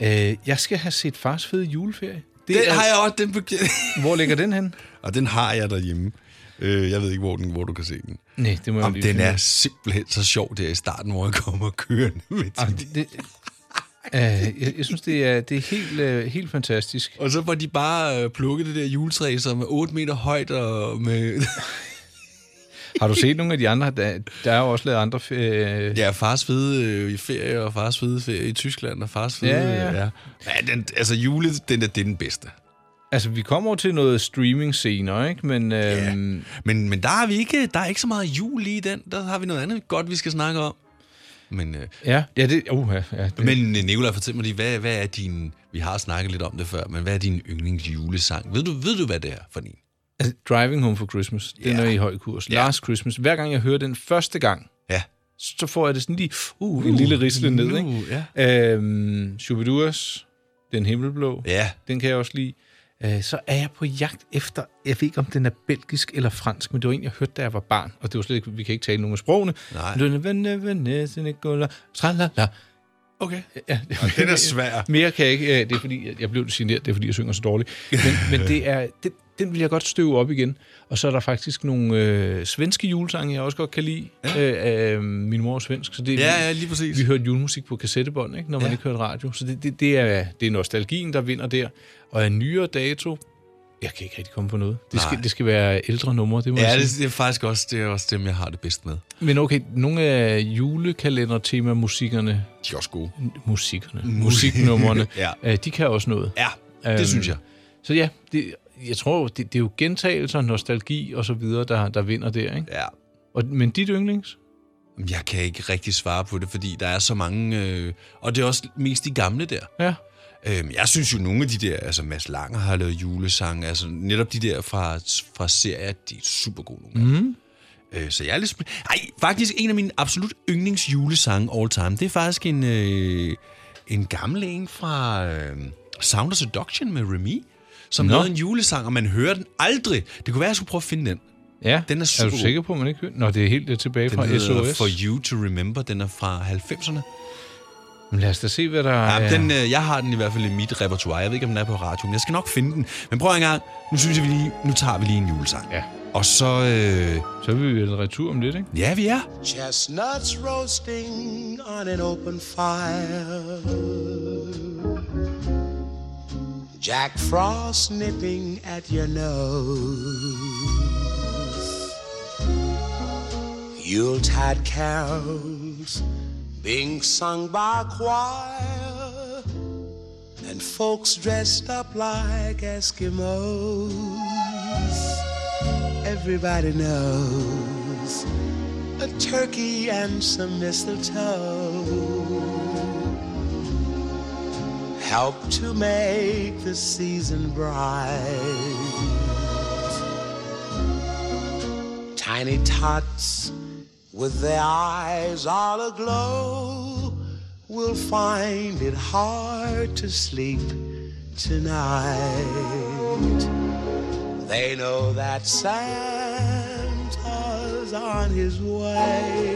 Øh, jeg skal have set Fars Fede Juleferie.
Det den har jeg også. Den be-
Hvor ligger den hen?
og den har jeg derhjemme. Øh, jeg ved ikke, hvor, den, hvor du kan se den.
Nej, det må jeg
Om,
lige
den
finde ud
er
af.
simpelthen så sjov der i starten, hvor jeg kommer kørende med
Ej, det,
til
det, øh, jeg, jeg synes, det er, det er helt, øh, helt fantastisk.
Og så var de bare øh, plukket det der juletræ, som er 8 meter højt og med...
Har du set nogle af de andre? Der, der er jo også lavet andre... Øh,
Ja, fars fede øh, ferie og fars fede ferie i Tyskland og fars fede...
Ja, ja,
øh,
ja.
ja den, altså jule, den er, det er den bedste.
Altså, vi kommer over til noget streaming senere, ikke? Men, øh,
Ja. Men, men der, har vi ikke, der er ikke så meget jul lige i den. Der har vi noget andet godt, vi skal snakke om. Men, øh,
ja, ja, det, uh, ja, det,
men øh, Nicolaj, fortæl mig lige, hvad, hvad er din... Vi har snakket lidt om det før, men hvad er din yndlingsjulesang? Ved du, ved du hvad det er for en?
Altså, Driving Home for Christmas, den
Ja.
er i høj kurs.
Ja.
Last Christmas, hver gang jeg hører den første gang,
Ja.
så får jeg det sådan lige, uh, en lille risle ned,
nu,
ikke? Ja. Øhm, Shubiduas, Den Himmelblå,
Ja.
den kan jeg også lide. Øh, så er jeg på jagt efter, jeg ved ikke, om den er belgisk eller fransk, men det var en, jeg hørte, da jeg var barn, og det var slet ikke, vi kan ikke tale nogen af sprogene.
Nej.
Men det var, "Venne, venne, Senegola, tralala."
Okay.
Ja,
den er svær.
Mere kan jeg ikke. øh, Det er fordi, jeg- jeg blev generet, det er fordi, jeg synger så dårligt. Men, men det er, det, den vil jeg godt støve op igen. Og så er der faktisk nogle øh, svenske julesange, jeg også godt kan lide. Ja. Øh, øh, min mor er svensk, så det er,
Ja, ja, lige præcis.
vi hørte julemusik på kassettebånd, ikke, når man
Ja.
ikke hørte radio. Så det, det, det, er, det er nostalgien, der vinder der. Og af nyere dato, jeg kan ikke rigtig komme på noget. Det skal,
Nej.
det skal være ældre numre, det må
Ja,
jeg
det,
sige.
det er faktisk også, det er også dem, jeg har det bedst med.
Men okay, nogle af julekalender-tema-musikkerne,
De er også gode.
musikkerne,
Mu-
musiknumrene,
Ja.
øh, de kan også noget.
Ja, det synes jeg.
Så ja, det, jeg tror, det, det er jo gentagelser, nostalgi og så videre, der, der vinder der, ikke?
Ja.
Og, men dit yndlings?
Jamen, Jeg kan ikke rigtig svare på det, fordi der er så mange... Øh, og det er også mest de gamle der.
Ja.
Øhm, jeg synes jo, nogle af de der... Altså, Mads Langer har lavet julesange. Altså, netop de der fra, fra serier, de er super gode nogle gange.
Mm.
Øh, så jeg er lidt... spændt. Ej, faktisk en af mine absolut yndlingsjulesange all time, det er faktisk en, øh, en gammel en fra øh, Sound of Seduction med Remy, som
Nå.
lavede en julesang, og man hører den aldrig. Det kunne være, jeg skulle prøve at finde den.
Ja,
Den er super
er du
god.
sikker på, at man ikke hører? Nå, det er helt øh, tilbage
Den
fra
hedder
SOS.
For You to Remember, den er fra 90'erne.
Men lad os da se, hvad der
Ja,
er.
den, øh, jeg har den i hvert fald i mit repertoire. Jeg ved ikke, om den er på radio, men jeg skal nok finde den. Men prøv en gang. Nu synes jeg, vi lige, nu tager vi lige en julesang.
Ja.
Og så... Øh,
Så er vi vel retur om lidt, ikke?
ja, vi er.
Chestnuts roasting on an open fire. Jack Frost nipping at your nose. Yuletide carols being sung by a choir. And folks dressed up like Eskimos. Everybody knows a turkey and some mistletoe help to make the season bright. Tiny tots with their eyes all aglow will find it hard to sleep tonight. They know that Santa's on his way.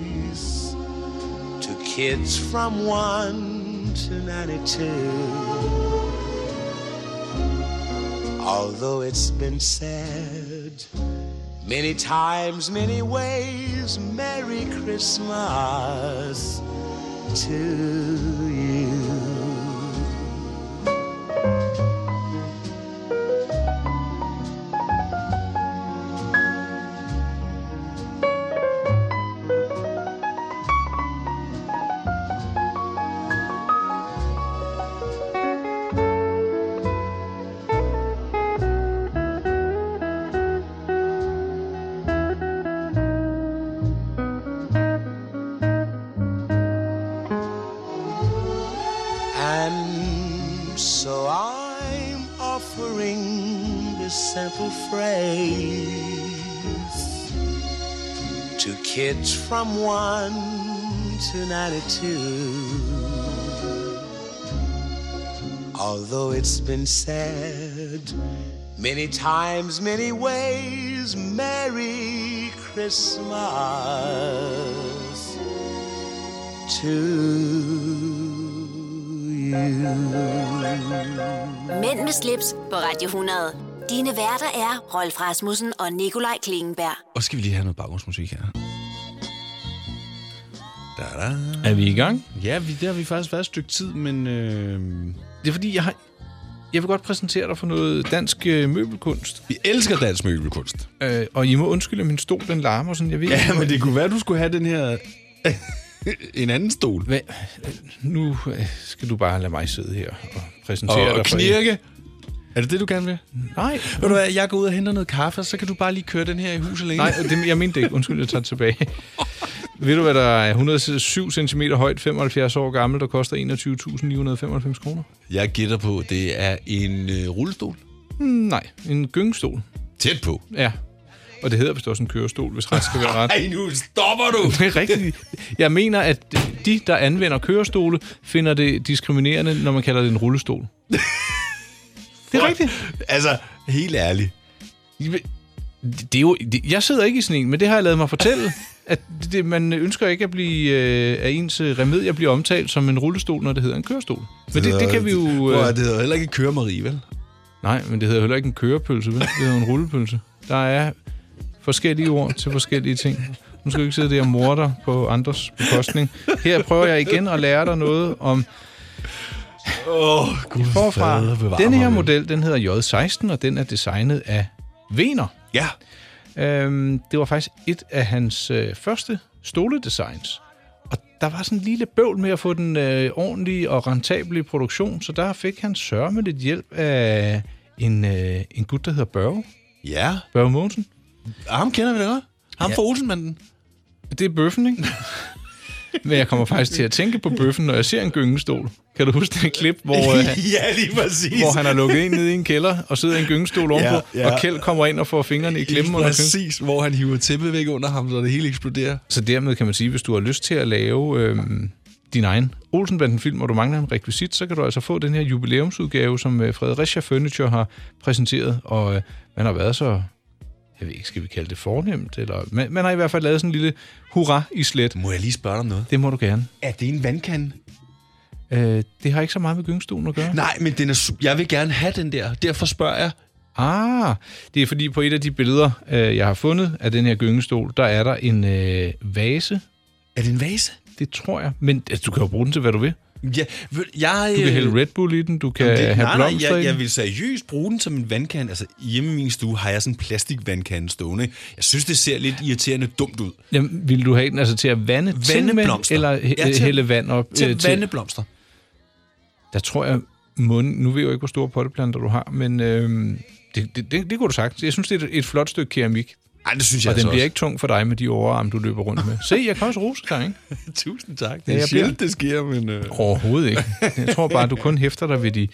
to kids from 1 to 92. Although it's been said many times, many ways, Merry Christmas to you. So I'm offering this simple phrase to kids from 1 to 92. Although it's been said many times, many ways, Merry Christmas to
Mænd med slips på Radio 100. Dine værter er Rolf Rasmussen og Nikolaj Klingenberg.
Og skal vi lige have noget baggrundsmusik her. Da-da.
Er vi i gang?
Ja, vi, det har vi faktisk været et stykke tid, men... Øh...
Det er fordi, jeg har... Jeg vil godt præsentere dig for noget dansk øh, møbelkunst.
Vi elsker dansk møbelkunst.
Øh, og I må undskylde, at min stol den larmer sådan. Jeg ved
Ja,
ikke,
men det kunne være, du skulle have den her... en anden stol.
Hvad? Nu øh, skal du bare lade mig sidde her og præsentere
Og, og
dig for en-
knirke. Er det det, du gerne vil?
Nej.
Ved du hvad, jeg går ud og henter noget kaffe, og så kan du bare lige køre den her i hus alene.
Nej, det, jeg mente det ikke. Undskyld, jeg tager det tilbage. Ved du, hvad der er 107 cm højt, 75 år gammel, der koster 21.995 kroner?
Jeg gætter på, det er en øh, rullestol.
Mm, Nej, en gyngestol.
Tæt på.
Ja. Og det hedder vist også en kørestol, hvis ret skal være ret.
Ej, nu stopper du!
Det er rigtigt. Jeg mener, at de, der anvender kørestole, finder det diskriminerende, når man kalder det en rullestol. Det er rigtigt.
Altså, helt ærligt.
Det er jo, det, jeg sidder ikke i sådan en, men det har jeg lavet mig fortælle, at det, man ønsker ikke at blive øh, af ens øh, remedier bliver omtalt som en rullestol, når det hedder en kørestol. Men det, det kan vi jo...
Prøv,
Øh,
at, det hedder heller ikke køremarie, vel?
nej, men det hedder heller ikke en kørepølse, vel? det hedder en rullepølse. Der er forskellige ord til forskellige ting. Nu skal du ikke sidde der og morder på andres bekostning. Her prøver jeg igen at lære dig noget om
Åh, oh, gud
forfra.
fader, bevar
Denne her
mig vel.
model, den hedder J16, og den er designet af Vener.
Ja.
Øhm, det var faktisk et af hans øh, første stoledesigns. Og der var sådan en lille bøvl med at få den øh, ordentlige og rentable i produktion, så der fik han sørme lidt hjælp af en, øh, en gut, der hedder Børge.
Ja,
Børge Mogensen.
og ham kender vi da godt. Ham
Ja.
ja. fra Olsenmanden.
Det er bøffen, ikke? Men jeg kommer faktisk til at tænke på bøffen, når jeg ser en gyngestol. Kan du huske det klip, hvor, øh,
ja, lige præcis.
hvor han er lukket ind nede i en kælder og sidder i en gyngestol ovenpå, ja,
Ja,
ja.
ja.
og Kjeld kommer ind og får fingrene i klemmen under gyngestolen?
Præcis, hvor han hiver tæppet væk under ham, så det hele eksploderer.
Så dermed kan man sige, hvis du har lyst til at lave øh, din egen Olsenbanden-film, og du mangler en rekvisit, så kan du altså få den her jubilæumsudgave, som øh, Fredericia Furniture har præsenteret, og øh, man har været så, jeg ved ikke, skal vi kalde det fornemt, eller man, man har i hvert fald lavet sådan en lille hurra i slet.
Må jeg lige spørge dig om noget?
Det må du gerne.
Er det en vandkande?
Øh, det har ikke så meget med gyngstolen at gøre.
Nej, men den er su- jeg vil gerne have den der. Derfor spørger jeg.
Ah, det er fordi på et af de billeder, øh, jeg har fundet af den her gyngestol, der er der en øh, vase.
Er det en vase?
Det tror jeg. Men altså, du kan jo bruge den til, hvad du vil.
Ja, ved- jeg...
Du kan
øh,
hælde Red Bull i den, du kan
Jamen, det-
have
nej, nej,
blomster i
jeg,
den.
jeg vil seriøst bruge den som en vandkande. Altså, hjemme i min stue har jeg sådan en plastikvandkande stående. Jeg synes, det ser lidt irriterende dumt ud.
Jamen, vil du have den altså til at vande,
Vande
ting med,
blomster.
eller hæ-
Ja, til-
hælde vand op?
Til
øh,
at vande blomster.
Der tror jeg, mund, nu ved jeg jo ikke, hvor store potteplanter du har, men øhm, det, det, det, det kunne du sagt. Jeg synes, det er et, et flot stykke keramik,
Ej, det synes jeg
og den
altså
bliver
også.
ikke tung for dig med de overarm, du løber rundt med. Se, jeg kan også rose dig, ikke?
Tusind tak.
Ja,
Det er
jeg
sjældent, det sker, men... Øh...
Overhovedet ikke. Jeg tror bare, du kun hæfter dig ved de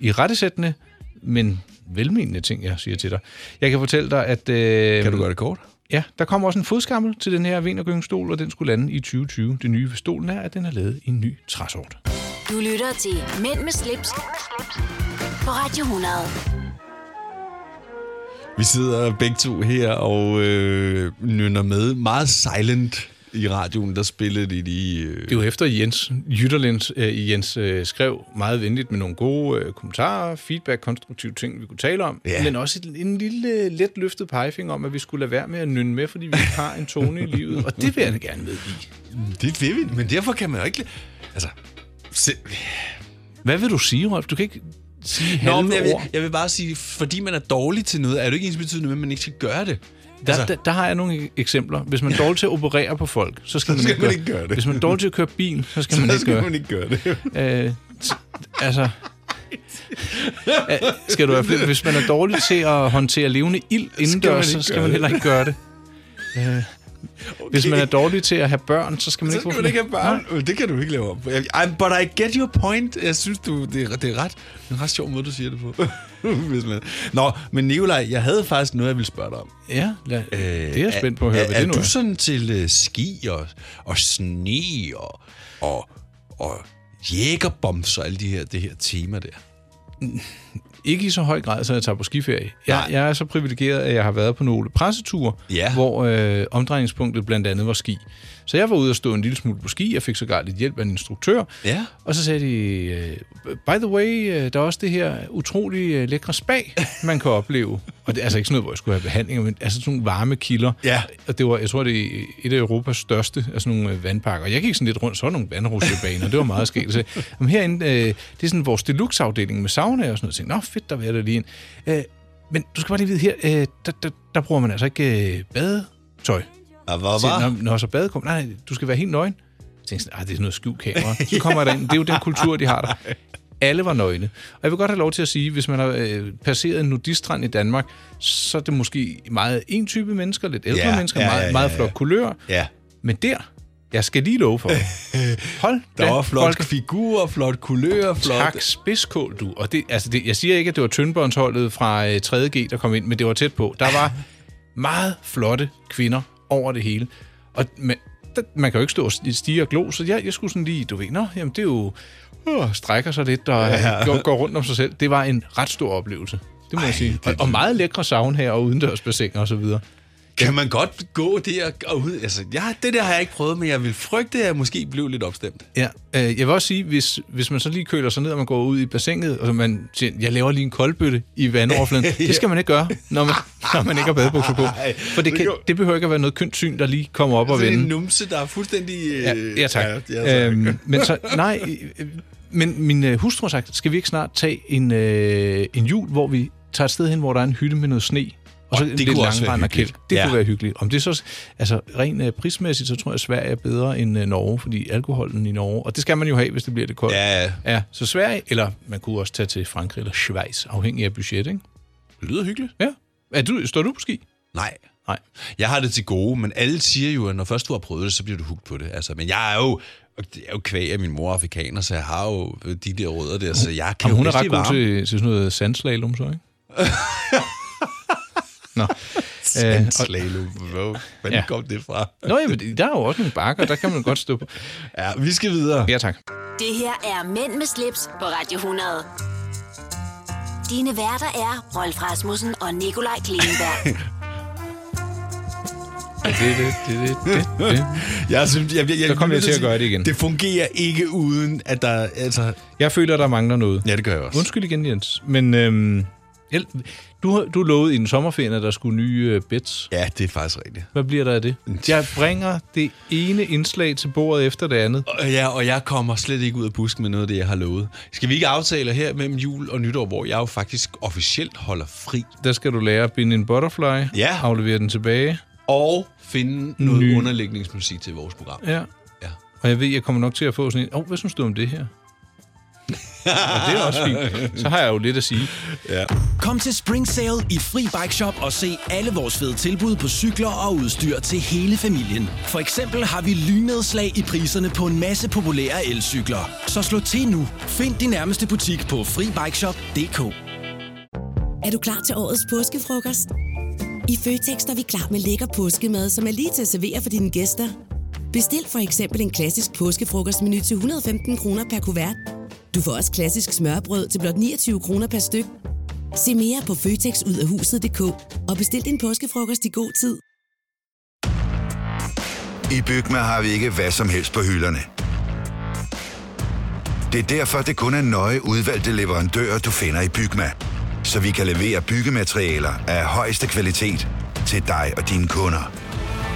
i rettesættende, men velmenende ting, jeg siger til dig. Jeg kan fortælle dig, at... Øh,
Kan du gøre det kort?
Ja, der kommer også en fodskammel til den her Venergyngstol, og den skulle lande i 2020. Det nye ved stolen er, at den er lavet i en ny træsort.
Du lytter til Mænd med slips, Mænd med slips. på Radio 100.
Vi sidder begge to her og øh, nynner med meget silent i radioen, der spillede de lige... Øh...
Det var efter Jens Jytterlens, øh, Jens øh, skrev meget venligt med nogle gode øh, kommentarer, feedback, konstruktive ting, vi kunne tale om,
Ja.
men også en, en lille let løftet pegefinger om, at vi skulle lade være med at nynne med, fordi vi ikke har en tone i livet, og det vil jeg da gerne medgive.
Det vil vi, men derfor kan man jo ikke... li- Altså, se...
Hvad vil du sige, Rolf? Du kan ikke sige
Nå,
halve
men jeg,
ord.
vil, jeg vil bare sige, fordi man er dårlig til noget, er det ikke ens betydende med, at man ikke skal gøre det.
Der, altså, der, der har jeg nogle eksempler. Hvis man er dårlig til at operere på folk, så skal,
Så skal
man,
man
ikke
ikke gøre det.
Hvis man er dårlig til at køre bil, så skal man
så
ikke
skal
gøre
man ikke gøre det.
Øh, t- altså... Ja, skal du have flere? Hvis man er dårlig til at håndtere levende ild indendørs, så
ikke
skal
gøre
man
det.
heller ikke gøre det. Okay. Hvis man er dårlig til at have børn, så skal man
Så
ikke få
skal man ikke have børn. Det kan du ikke lave om på. Jeg- I, but I get your point. Jeg synes, du, det, er, det er ret, det er en ret sjov måde, du siger det på. Hvis man- Nå, men Nikolaj, jeg havde faktisk noget, jeg ville spørge dig om.
Ja, lad, øh, det er jeg spændt på at høre,
er,
hvad
er
det nu
du
er.
sådan til uh, ski og, og sne og, og, og jægerbombs og alle de her, det her tema der?
Ikke i så høj grad, så jeg tager på skiferie. Jeg, jeg er så privilegeret, at jeg har været på nogle presseture,
Ja.
hvor øh, omdrejningspunktet blandt andet var ski. Så jeg var ude og stå en lille smule på ski. Jeg fik sågar lidt hjælp af en instruktør.
Ja.
Og så sagde de, øh, by the way, øh, der er også det her utrolig øh, lækre spag, man kan opleve. Og det er altså ikke sådan noget, hvor jeg skulle have behandlinger, men altså sådan nogle varme kilder.
Ja.
Og det var, jeg tror, det er et af Europas største af sådan nogle øh, vandparker. Og jeg gik sådan lidt rundt, så var der nogle vandrusjebaner, det var meget skægt. Så, men herinde, øh, det er sådan vores deluxe-afdeling med sauna og sådan noget. Så, Nå, fedt, der vil jeg da lige ind. Øh, men du skal bare lige vide her, øh, der, der, der bruger man altså ikke øh, badetøj.
Ja, hvad
Så,
var?
når, når så badet kommer, nej, nej, du skal være helt nøgen. Jeg tænkte sådan, "Ah, det er sådan noget skjult kamera. Så kommer jeg derind, det er jo den kultur, de har der. Alle var nøgne. Og jeg vil godt have lov til at sige, hvis man har øh, passeret en nudistrand i Danmark, så er det måske meget en type mennesker, lidt ældre
Ja,
mennesker,
ja,
meget,
ja, ja,
meget
ja.
flot kulør.
Ja.
Men der, jeg skal lige love for, hold
Der
da
var flot
folk-
figurer, flot kulør, flot...
Tak, spidskål, du. Og det, altså det, jeg siger ikke, at det var Tøndbåndsholdet fra øh, 3.G, der kom ind, men det var tæt på. Der var meget flotte kvinder over det hele. Og man, der, man kan jo ikke stå og sti- stige og glo, så jeg, jeg skulle sådan lige, du ved, nå, jamen det er jo... Uh, strækker sig lidt og
Ja.
ja. går, går rundt om sig selv. Det var en ret stor oplevelse, det må Ej, jeg sige. Og, og meget lækre savn her og udendørsbassiner og så videre.
Kan man godt gå der og ud? Altså, ja, det der har jeg ikke prøvet, men jeg vil frygte, at jeg måske blev lidt opstemt.
Ja, øh, jeg vil også sige, hvis, hvis man så lige køler sig ned, og man går ud i bassinet, og man siger, jeg laver lige en koldbøtte i vandoverfladen.
Ja.
Det skal man ikke gøre, når man, når man ikke har badebukser på. For det, kan, det behøver ikke at være noget kønt syn, der lige kommer op og
Sådan en
vende.
numse, der Altså, er fuldstændig... øh,
Ja, ja tak.
Ja, ja, tak.
Øhm, men så, nej, øh, men min øh, hustru har sagt, skal vi ikke snart tage en, øh, en jul, hvor vi tager et sted hen, hvor der er en hylde med noget sne, og så
Og det
lidt
kunne også være
langrend og
hyggeligt.
kælk. Det
Ja.
kunne være hyggeligt. Om det så, altså rent øh, prismæssigt, så tror jeg, at Sverige er bedre end øh, Norge, fordi alkoholen i Norge, og det skal man jo have, hvis det bliver lidt koldt.
Ja, ja.
ja så Sverige, eller man kunne også tage til Frankrig eller Schweiz, afhængig af budget, ikke?
Det lyder hyggeligt.
Ja. Er du, står du på ski?
Nej.
Nej.
Jeg har det til gode, men alle siger jo, at når først du har prøvet det, så bliver du hooked på det. Altså, men jeg er jo... Og det er jo kvæg af min mor er afrikaner, så jeg har jo de der rødder der, så jeg kan
Jamen, hun
jo
er ret
rigtig
god
varme.
til, til sådan noget sandslalom, så, ikke? Nå. Øh, og-
Slalom. Hvor fanden
Ja.
kom det fra?
Nå, jamen, der er jo også nogle bakker, der kan man godt stå på.
Ja, vi skal videre.
Ja, tak.
Det her er Mænd med slips på Radio 100. Dine værter er Rolf Rasmussen og Nikolaj Klingenberg.
Det, det, det, det, det.
Jeg synes, jeg, jeg, jeg,
Så kommer jeg
nødt
til at gøre det igen.
Det fungerer ikke uden, at der... Altså,
Jeg føler, der mangler noget.
ja, det gør jeg også.
Undskyld igen, Jens. Men øhm, El- du, har- du lovede i den sommerferie, at der skulle nye øh, bets.
Ja, det er faktisk rigtigt.
Hvad bliver der af det? Jeg bringer det ene indslag til bordet efter det andet.
Og- øh, Ja, og jeg kommer slet ikke ud af busken med noget af det, jeg har lovet. Skal vi ikke aftale her mellem jul og nytår, hvor jeg jo faktisk officielt holder fri
Der skal du lære at binde en butterfly,
Ja.
aflevere den tilbage.
og finde noget
Ny.
underlægningsmusik til vores program?
Ja.
Ja.
Og jeg ved, jeg kommer nok til at få sådan en, åh, oh, hvad synes du om det her? og det er også fint. Så har jeg jo lidt at sige.
Kom til Spring Sale i Fri Bike Shop og se alle vores fede tilbud på cykler og udstyr til hele familien. For eksempel har vi lynedslag i priserne på en masse populære elcykler. Så slå til nu. Find din nærmeste butik på FriBikeShop.dk.
Er du klar til årets påskefrokost? I Føtex er vi klar med lækker påskemad, som er lige til at servere for dine gæster. Bestil for eksempel en klassisk påskefrokostmenu til 115 kroner per kuvert. Du får også klassisk smørbrød til blot 29 kroner per styk. Se mere på føtexudafhuset.dk og bestil din påskefrokost i god tid.
I Bygma har vi ikke hvad som helst på hylderne. Det er derfor, det kun er nøje udvalgte leverandører, du finder i Bygma. Så vi kan levere byggematerialer af højeste kvalitet til dig og dine kunder.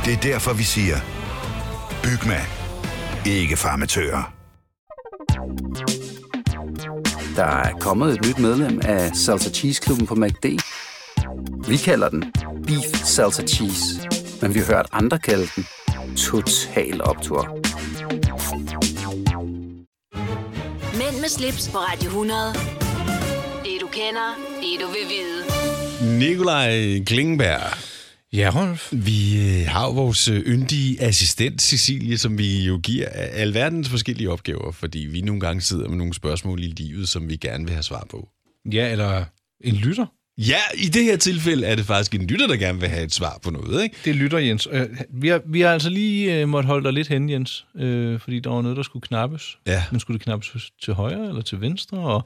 Det er derfor, vi siger, Bygma. Ikke farmatører.
Der er kommet et nyt medlem af Salsa Cheese Klubben på MACD. Vi kalder den Beef Salsa altså Cheese, men vi har hørt andre kalde den Total Optor.
Mænd med slips på Radio 100. Det du kender, det du vil vide.
Nikolaj Klingberg.
Ja, Rolf.
Vi øh, har jo vores øh, yndige assistent, Cecilie, som vi jo giver a- alverdens forskellige opgaver, fordi vi nogle gange sidder med nogle spørgsmål i livet, som vi gerne vil have svar på.
Ja, eller en lytter.
Ja, i det her tilfælde er det faktisk en lytter, der gerne vil have et svar på noget, ikke?
Det lytter Jens. Øh, Vi har, vi har altså lige øh, måtte holde dig lidt hen, Jens, øh, fordi der var noget, der skulle knappes.
Ja.
Men skulle det knappes til højre eller til venstre? Og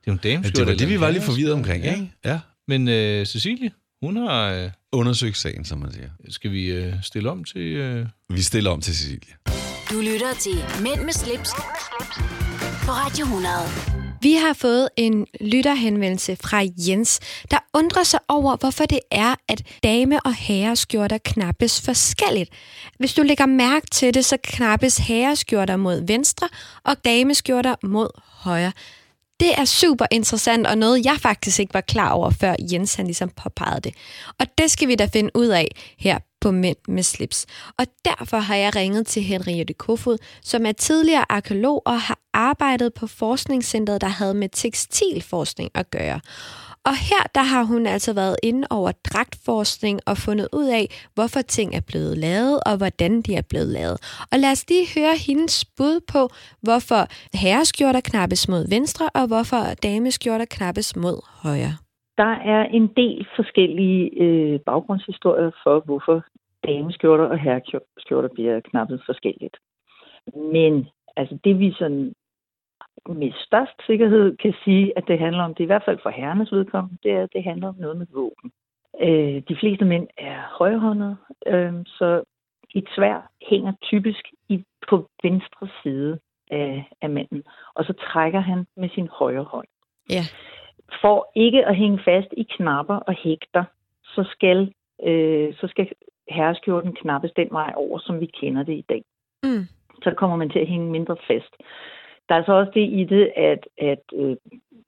det er jo en dame,
Ja, det var det, vi var lidt forvirret omkring, ikke? Ja.
Men øh, Cecilie, hun har... Øh,
Undersøg sagen, som man siger.
Skal vi øh, stille om til... Øh...
Vi stiller om til Cecilie.
Du lytter til Mænd med slips, på Radio 100.
Vi har fået en lytterhenvendelse fra Jens, der undrer sig over, hvorfor det er, at dame- og herreskjorter knappes forskelligt. Hvis du lægger mærke til det, så knappes herreskjorter mod venstre og dameskjorter mod højre. Det er super interessant og noget, jeg faktisk ikke var klar over, før Jens han ligesom påpegede det. Og det skal vi da finde ud af her på Mænd med slips. Og derfor har jeg ringet til Henriette Kofod, som er tidligere arkeolog og har arbejdet på forskningscentret, der havde med tekstilforskning at gøre. Og her der har hun altså været inde over dragtforskning og fundet ud af, hvorfor ting er blevet lavet og hvordan de er blevet lavet. Og lad os lige høre hendes bud på, hvorfor herreskjorter knappes mod venstre og hvorfor dameskjorter knappes mod højre.
Der er en del forskellige øh, baggrundshistorier for, hvorfor dameskjorter og herreskjorter bliver knappet forskelligt. Men altså, det vi sådan med størst sikkerhed kan sige, at det handler om, det er i hvert fald for herrenes vedkommende, det er, at det handler om noget med våben. Øh, de fleste mænd er højhåndede, øh, så et svær hænger typisk i, på venstre side af, af manden, og så trækker han med sin højre hånd.
Ja.
For ikke at hænge fast i knapper og hægter, så skal, øh, så skal herreskjorten knappes den vej over, som vi kender det i dag.
Mm.
Så kommer man til at hænge mindre fast. Der er så også det i det, at, at øh,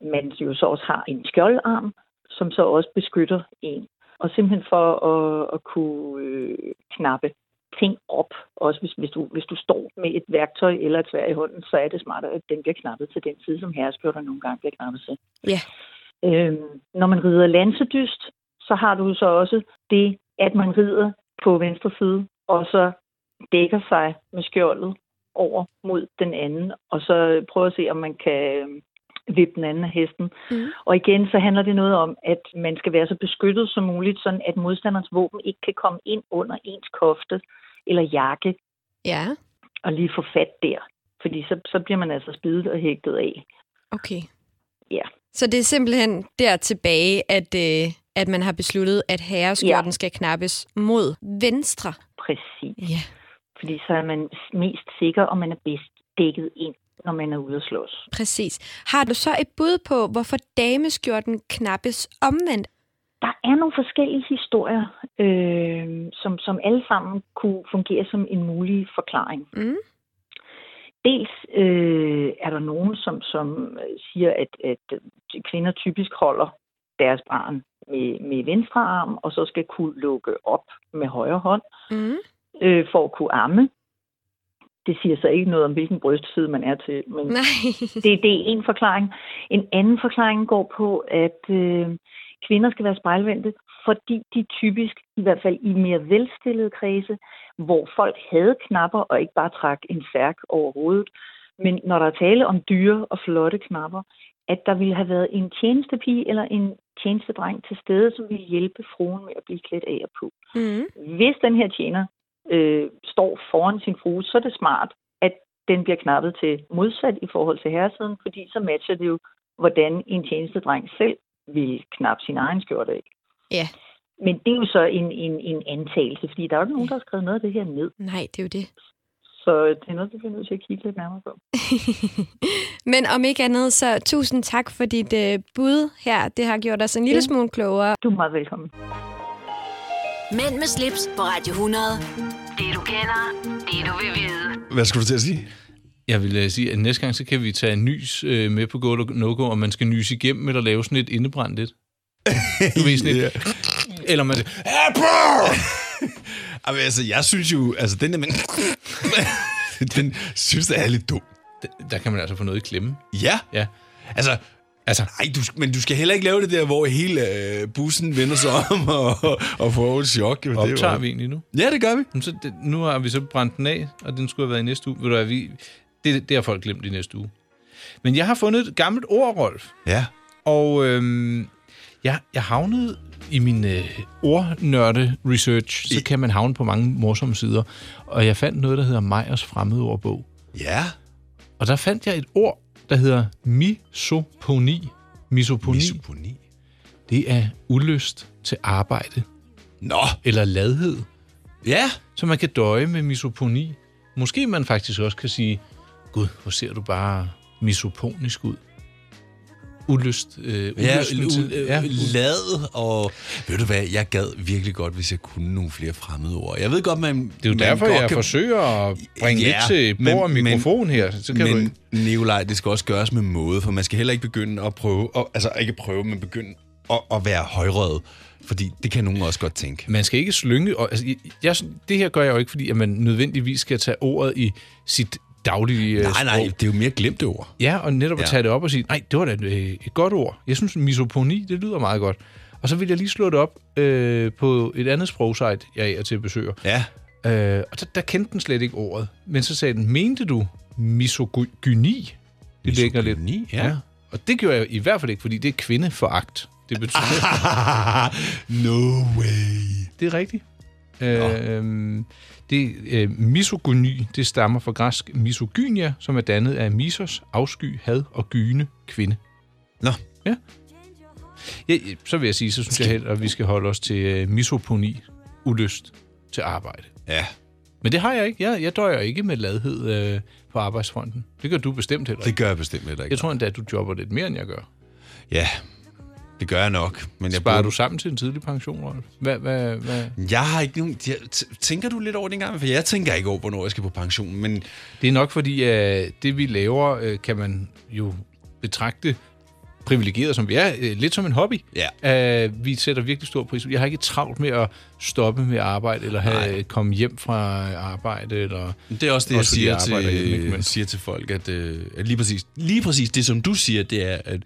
man jo så også har en skjoldarm, som så også beskytter en. Og simpelthen for at, at kunne øh, knappe ting op, også hvis, hvis, du, hvis du står med et værktøj eller et svær i hånden, så er det smartere, at den bliver knappet til den side, som herreskjorter nogle gange bliver knappet til.
Ja.
Øhm, når man rider lansedyst, så har du så også det, at man rider på venstre side, og så dækker sig med skjoldet over mod den anden, og så prøver at se, om man kan øhm, vippe den anden af hesten.
Mm.
Og igen, så handler det noget om, at man skal være så beskyttet som muligt, sådan at modstanderens våben ikke kan komme ind under ens kofte eller jakke
Ja,
og lige få fat der. Fordi så, så bliver man altså spidet og hægtet af.
okay.
Ja.
Så det er simpelthen der tilbage, at, øh, at man har besluttet, at herreskjorten ja. skal knappes mod venstre.
Præcis.
Ja.
Fordi så er man mest sikker, og man er bedst dækket ind, når man er ude at slås.
Præcis. Har du så et bud på, hvorfor dameskjorten knappes omvendt?
Der er nogle forskellige historier, øh, som, som alle sammen kunne fungere som en mulig forklaring.
Mm.
Dels øh, er der nogen, som, som øh, siger, at, at øh, kvinder typisk holder deres barn med, med venstre arm, og så skal kunne lukke op med højre hånd.
Mm.
øh, for at kunne amme. Det siger så ikke noget om, hvilken brystside man er til, men
Nej.
det, det er en forklaring. En anden forklaring går på, at øh, kvinder skal være spejlvendte, fordi de typisk, i hvert fald i mere velstillede kredse, hvor folk havde knapper og ikke bare trak en særk over hovedet, men når der er tale om dyre og flotte knapper, at der ville have været en tjenestepige eller en tjenestedreng til stede, som ville hjælpe fruen med at blive klædt af og på.
Mm.
Hvis den her tjener øh, står foran sin frue, så er det smart, at den bliver knappet til modsat i forhold til herresiden, fordi så matcher det jo, hvordan en tjenestedreng selv vil knappe sin egen skjorte af.
Ja.
Men det er jo så en, en, en antagelse, fordi der er jo ikke nogen, der har skrevet noget af det her ned.
Nej, det er jo det.
Så det er noget, vi bliver nødt til at kigge lidt nærmere på.
Men om ikke andet, så tusind tak for dit øh, bud her. Det har gjort os en lille smule klogere.
Du er meget velkommen.
Mænd med slips på Radio 100. Det du kender, det du vil vide.
Hvad skulle du til at sige?
Jeg vil øh, sige, at næste gang, så kan vi tage en nys øh, med på Go No Go, om man skal nyse igennem eller lave sådan et indebrændt lidt. Du ved sådan et... Eller man...
Jamen, altså, jeg synes jo, altså den der man... den synes, det er lidt dum.
Der kan man altså få noget i klemme.
Ja.
Ja.
Altså,
Altså,
nej, du, men du skal heller ikke lave det der, hvor hele øh, bussen vender sig om og, og får et chok. Jo, det er jo-
Optager vi egentlig nu?
Ja, det gør vi.
Så det, nu har vi så brændt den af, og den skulle have været i næste uge. Ved du hvad, vi, det, det har folk glemt i næste uge. Men jeg har fundet et gammelt ord, Rolf.
Ja.
Og øhm, jeg, jeg havnede i min øh, ordnørde-research, så kan man havne på mange morsomme sider. Og jeg fandt noget, der hedder Meyers fremmedordbog.
Ja.
Og der fandt jeg et ord, der hedder misoponi. Misoponi.
misoponi.
Det er ulyst til arbejde.
Nå.
Eller ladhed.
Ja.
Så man kan døje med misoponi. Måske man faktisk også kan sige, Gud, hvor ser du bare misoponisk ud. Ulyst. Øh,
Ja,
ulysten
u-
til-
ja, lad og... Ved du hvad, jeg gad virkelig godt, hvis jeg kunne nogle flere fremmede ord. Jeg ved godt, man...
Det er jo
man
derfor,
godt
jeg
kan-
forsøger at bringe lidt til bord og mikrofon her. Så kan du
men,
ikke.
Nikolaj, det skal også gøres med måde, for man skal heller ikke begynde at prøve... Og, altså, ikke prøve, men begynde at, at være højrøget. Fordi det kan nogen også godt tænke.
Man skal ikke slynge... Og, altså, jeg, det her gør jeg jo ikke, fordi at man nødvendigvis skal tage ordet i sit daglige øh,
Nej, nej,
sprog.
det er jo mere glemte ord.
Ja, og netop at
Ja.
tage det op og sige, nej, det var da et, øh, et godt ord. Jeg synes, misoponi, det lyder meget godt. Og så vil jeg lige slå det op øh, på et andet sprogsite, jeg er til besøger.
Ja.
Øh, og der, der kendte den slet ikke ordet. Men så sagde den, mente du misogyni? Det ligger lidt.
ja.
Og det gjorde jeg i hvert fald ikke, fordi det er kvindeforagt. Det
Ah.
betyder...
no way.
Det er rigtigt. Øh, det, øh, misogyni, det stammer fra græsk misogynia, som er dannet af misos, afsky, had og gyne, kvinde.
Nå.
Ja. ja så vil jeg sige, så synes jeg heller, at vi skal holde os til øh, misoponi, ulyst til arbejde.
Ja.
Men det har jeg ikke. Jeg, jeg døjer ikke med ladhed øh, på arbejdsfronten. Det gør du bestemt heller ikke.
Det gør jeg bestemt heller ikke.
Jeg tror endda, at du jobber lidt mere, end jeg gør.
Ja, det gør jeg nok. Men jeg
Sparer
bruger-
du sammen til en tidlig pension, Rolf? Hvad, hvad, hvad?
Jeg har ikke nogen... jeg- t- Tænker du lidt over det engang? For jeg tænker ikke over, hvornår jeg skal på pension, men...
Det er nok, fordi øh, det, vi laver, øh, kan man jo betragte privilegeret, som vi er, øh, lidt som en hobby. Ja. Øh, vi sætter virkelig stor pris. på- Jeg har ikke travlt med at stoppe med arbejde, eller have, komme hjem fra arbejde. Eller,
Det er også det, jeg
fordi
siger
arbejder hjemme, ikke?
til,
Men-
men... siger til folk, at, øh, at lige, præcis, lige præcis det, som du siger, det er, at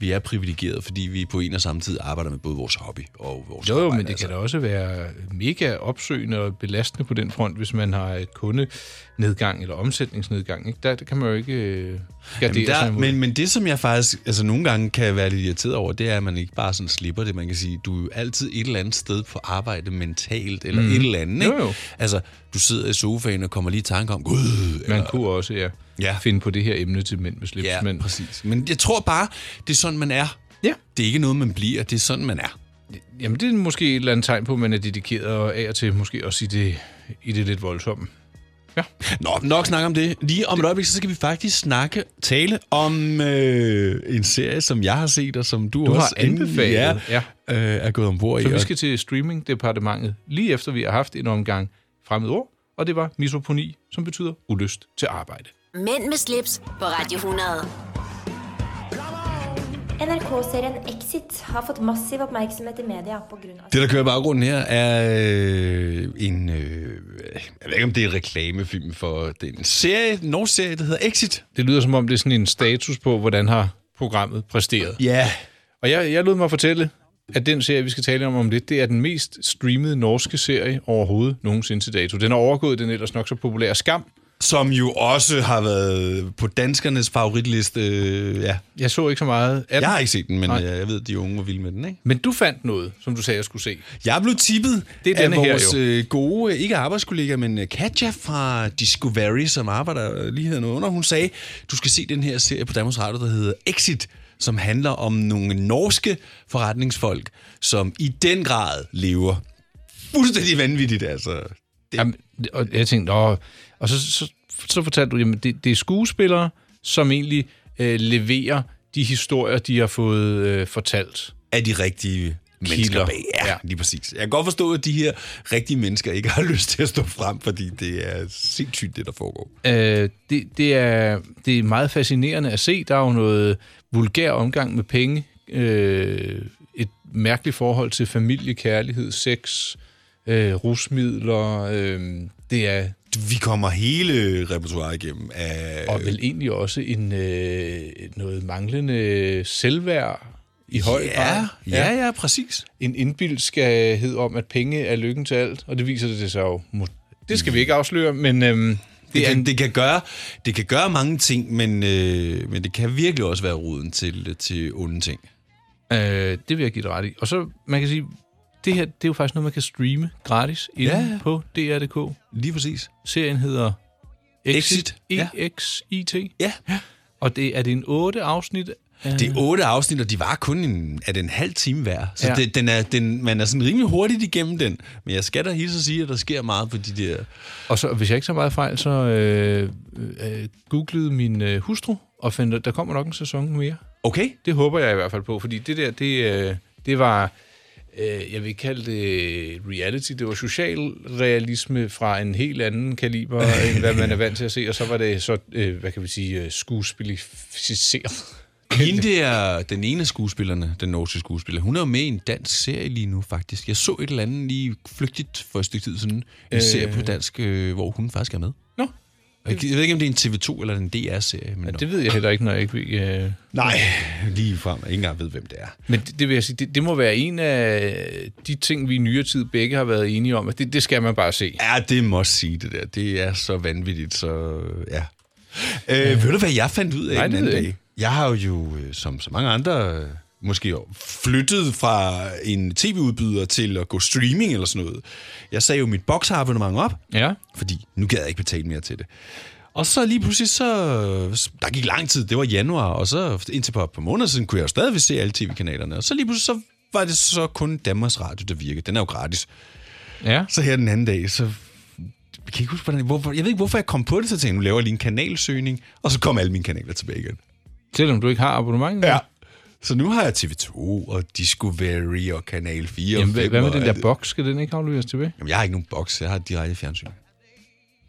vi er privilegerede, fordi vi på en og samme tid arbejder med både vores hobby og vores
Jo, jo,
arbejde. altså.
men det kan da også være mega opsøgende og belastende på den front, hvis man har øh, kundenedgang eller omsætningsnedgang. Ikke? Der, der kan man jo ikke øh, gardere
Jamen,
der, sig
der,
imod.
men, men det, som jeg faktisk altså, nogle gange kan være lidt irriteret over, det er, at man ikke bare sådan slipper det. Man kan sige, du er jo altid et eller andet sted på arbejde mentalt, eller
Mhm.
mm. et eller andet. Ikke?
Jo, jo.
Altså, du sidder i sofaen og kommer lige i tanke om, gud,
Man kunne også ja, ja. finde på det her emne til mænd med slips.
Ja,
men
præcis. Men jeg tror bare, det er sådan, man er.
Ja.
Det er ikke noget, man bliver. Det er sådan, man er.
Jamen, det er måske et eller andet tegn på, at man er dedikeret og af og til måske også i det, i det lidt voldsomme.
Nå, nok snak om det. Lige om et øjeblik, så skal vi faktisk snakke, tale om øh, en serie, som jeg har set, og som du,
Du har
også
anbefalet,
ja,
ja.
Øh, er gået ombord
Så
i.
vi
og-
skal til streamingdepartementet, lige efter vi har haft en omgang fremmede ord, og det var misoponi, som betyder ulyst til arbejde.
Mænd med slips på Radio 100.
NRK-serien Exit har fått massiv oppmerksomhet i media pga.
Det, der kører i baggrunden her, er øh, en... Øh, jeg ved ikke, om det er en reklamefilm for... Det er en serie, en norsk serie, der hedder Exit.
Det lyder som om, det er sådan en status på, hvordan har programmet præsteret.
Ja.
Og jeg, jeg lod mig fortælle, at den serie, vi skal tale om om lidt, det er den mest streamede norske serie overhovedet nogensinde til dato. Den har overgået den ellers nok så populære Skam.
Som jo også har været på danskernes favoritliste. Øh, ja.
Jeg så ikke så meget af den.
Jeg har ikke set den, men
Nej.
øh, jeg ved, at de unge var vilde med den, ikke?
Men du fandt noget, som du sagde, jeg skulle se.
Jeg blev tippet
Det er
af
denne her,
vores
jo.
øh, gode, øh, ikke arbejdskollega, men øh, Katja fra Discovery, som arbejder øh, lige hernede under. Hun sagde, du skal se den her serie på Danmarks Radio, der hedder Exit, som handler om nogle norske forretningsfolk, som i den grad lever fuldstændig vanvittigt, altså.
Det... Jamen, det- og jeg tænkte, Nå. og så, så, så fortalte du, jamen det, det er skuespillere, som egentlig øh, leverer de historier, de har fået øh, fortalt.
Af de rigtige
Kilder.
mennesker bag. Ja, lige præcis. Jeg kan godt forstå, at de her rigtige mennesker ikke har lyst til at stå frem, fordi det er sindssygt, det der foregår.
Øh, det, det, er, det er meget fascinerende at se. Der er jo noget vulgær omgang med penge, øh, et mærkeligt forhold til familie, kærlighed, sex, øh, rusmidler. Øh, det, er,
vi kommer hele repertoireet igennem af...
Og vel egentlig også en, øh, noget manglende selvværd i høj
Ja,
grad.
ja, ja, præcis.
En indbildskhed om, at penge er lykken til alt, og det viser det sig jo. mo- Det skal vi ikke afsløre, men øhm,
Det, kan, det, kan gøre, det kan gøre mange ting, men, øh, men det kan virkelig også være roden til, til onde ting.
Øh, det vil jeg give dig ret i. Og så, man kan sige, det her, det er jo faktisk noget, man kan streame gratis inde
Ja, ja.
ja. på DR.dk.
Lige præcis.
Serien hedder Exit. E
Exit,
E-X-I-T.
Ja.
Og det er det en otte afsnit?
Det er otte afsnit, og de var kun en, er det en halv time hver. Så ja.
Ja.
det, den er, den, man er sådan rimelig hurtigt igennem den. Men jeg skal da hilse og sige, at der sker meget på de der...
Og så, hvis jeg ikke så meget fejl, så øh, øh, googlede min øh, hustru og fandt, at der kommer nok en sæson mere.
Okay.
Det håber jeg i hvert fald på, fordi det der, det, øh, det var, øh, jeg vil ikke kalde det reality, det var social realisme fra en helt anden kaliber, end hvad man er vant til at se, og så var det så, øh, hvad kan vi sige, øh, skuespilificeret.
Hende der, den ene af skuespillerne, den norske skuespiller, hun er jo med i en dansk serie lige nu, faktisk. Jeg så et eller andet lige flygtigt for et stykke tid siden. En øh...
Øh.
serie på dansk, øh, hvor hun faktisk er med.
Nå.
Og Jeg, jeg ved ikke, om det er en TV2 eller en DR-serie. Men ja,
det ved jeg heller ikke, når jeg ikke ved... Øh...
Nej, lige frem. Jeg ikke engang ved, hvem det er.
Men det, det vil jeg sige, det, det må være en af de ting, vi i nyere tid begge har været enige om, at det, det skal man bare se.
Ja, det må sige det der. Det er så vanvittigt, så ja. Øh, Ved du, hvad jeg fandt ud af
Nej,
den
det
anden
ved jeg
dag?
ikke.
Jeg har jo, øh, som så mange andre, øh, måske jo flyttet fra en tv-udbyder til at gå streaming eller sådan noget. Jeg sagde jo mit boxabonnement op,
ja.
fordi nu gad jeg ikke betale mere til det. Og så lige pludselig, så, der gik lang tid, det var januar, og så indtil på et par måneder siden, kunne jeg jo stadigvæk se alle tv-kanalerne. Og så lige pludselig, så var det så kun Danmarks Radio, der virkede. Den er jo gratis.
Ja.
Så her den anden dag, så jeg kan ikke huske, hvordan, hvorfor, jeg ved ikke, hvorfor jeg kom på det, så tænkte jeg, nu laver jeg lige en kanalsøgning, og så kom alle mine kanaler tilbage igen.
Selvom du ikke har abonnement?
Ja. Så nu har jeg TV2 og Discovery og Kanal 4
Jamen,
og
hvad,
5
hvad med
og
den
alt
der
det.
boks? Skal den ikke afleveres tilbage?
Jamen, jeg har ikke nogen boks, jeg har et direkte fjernsyn.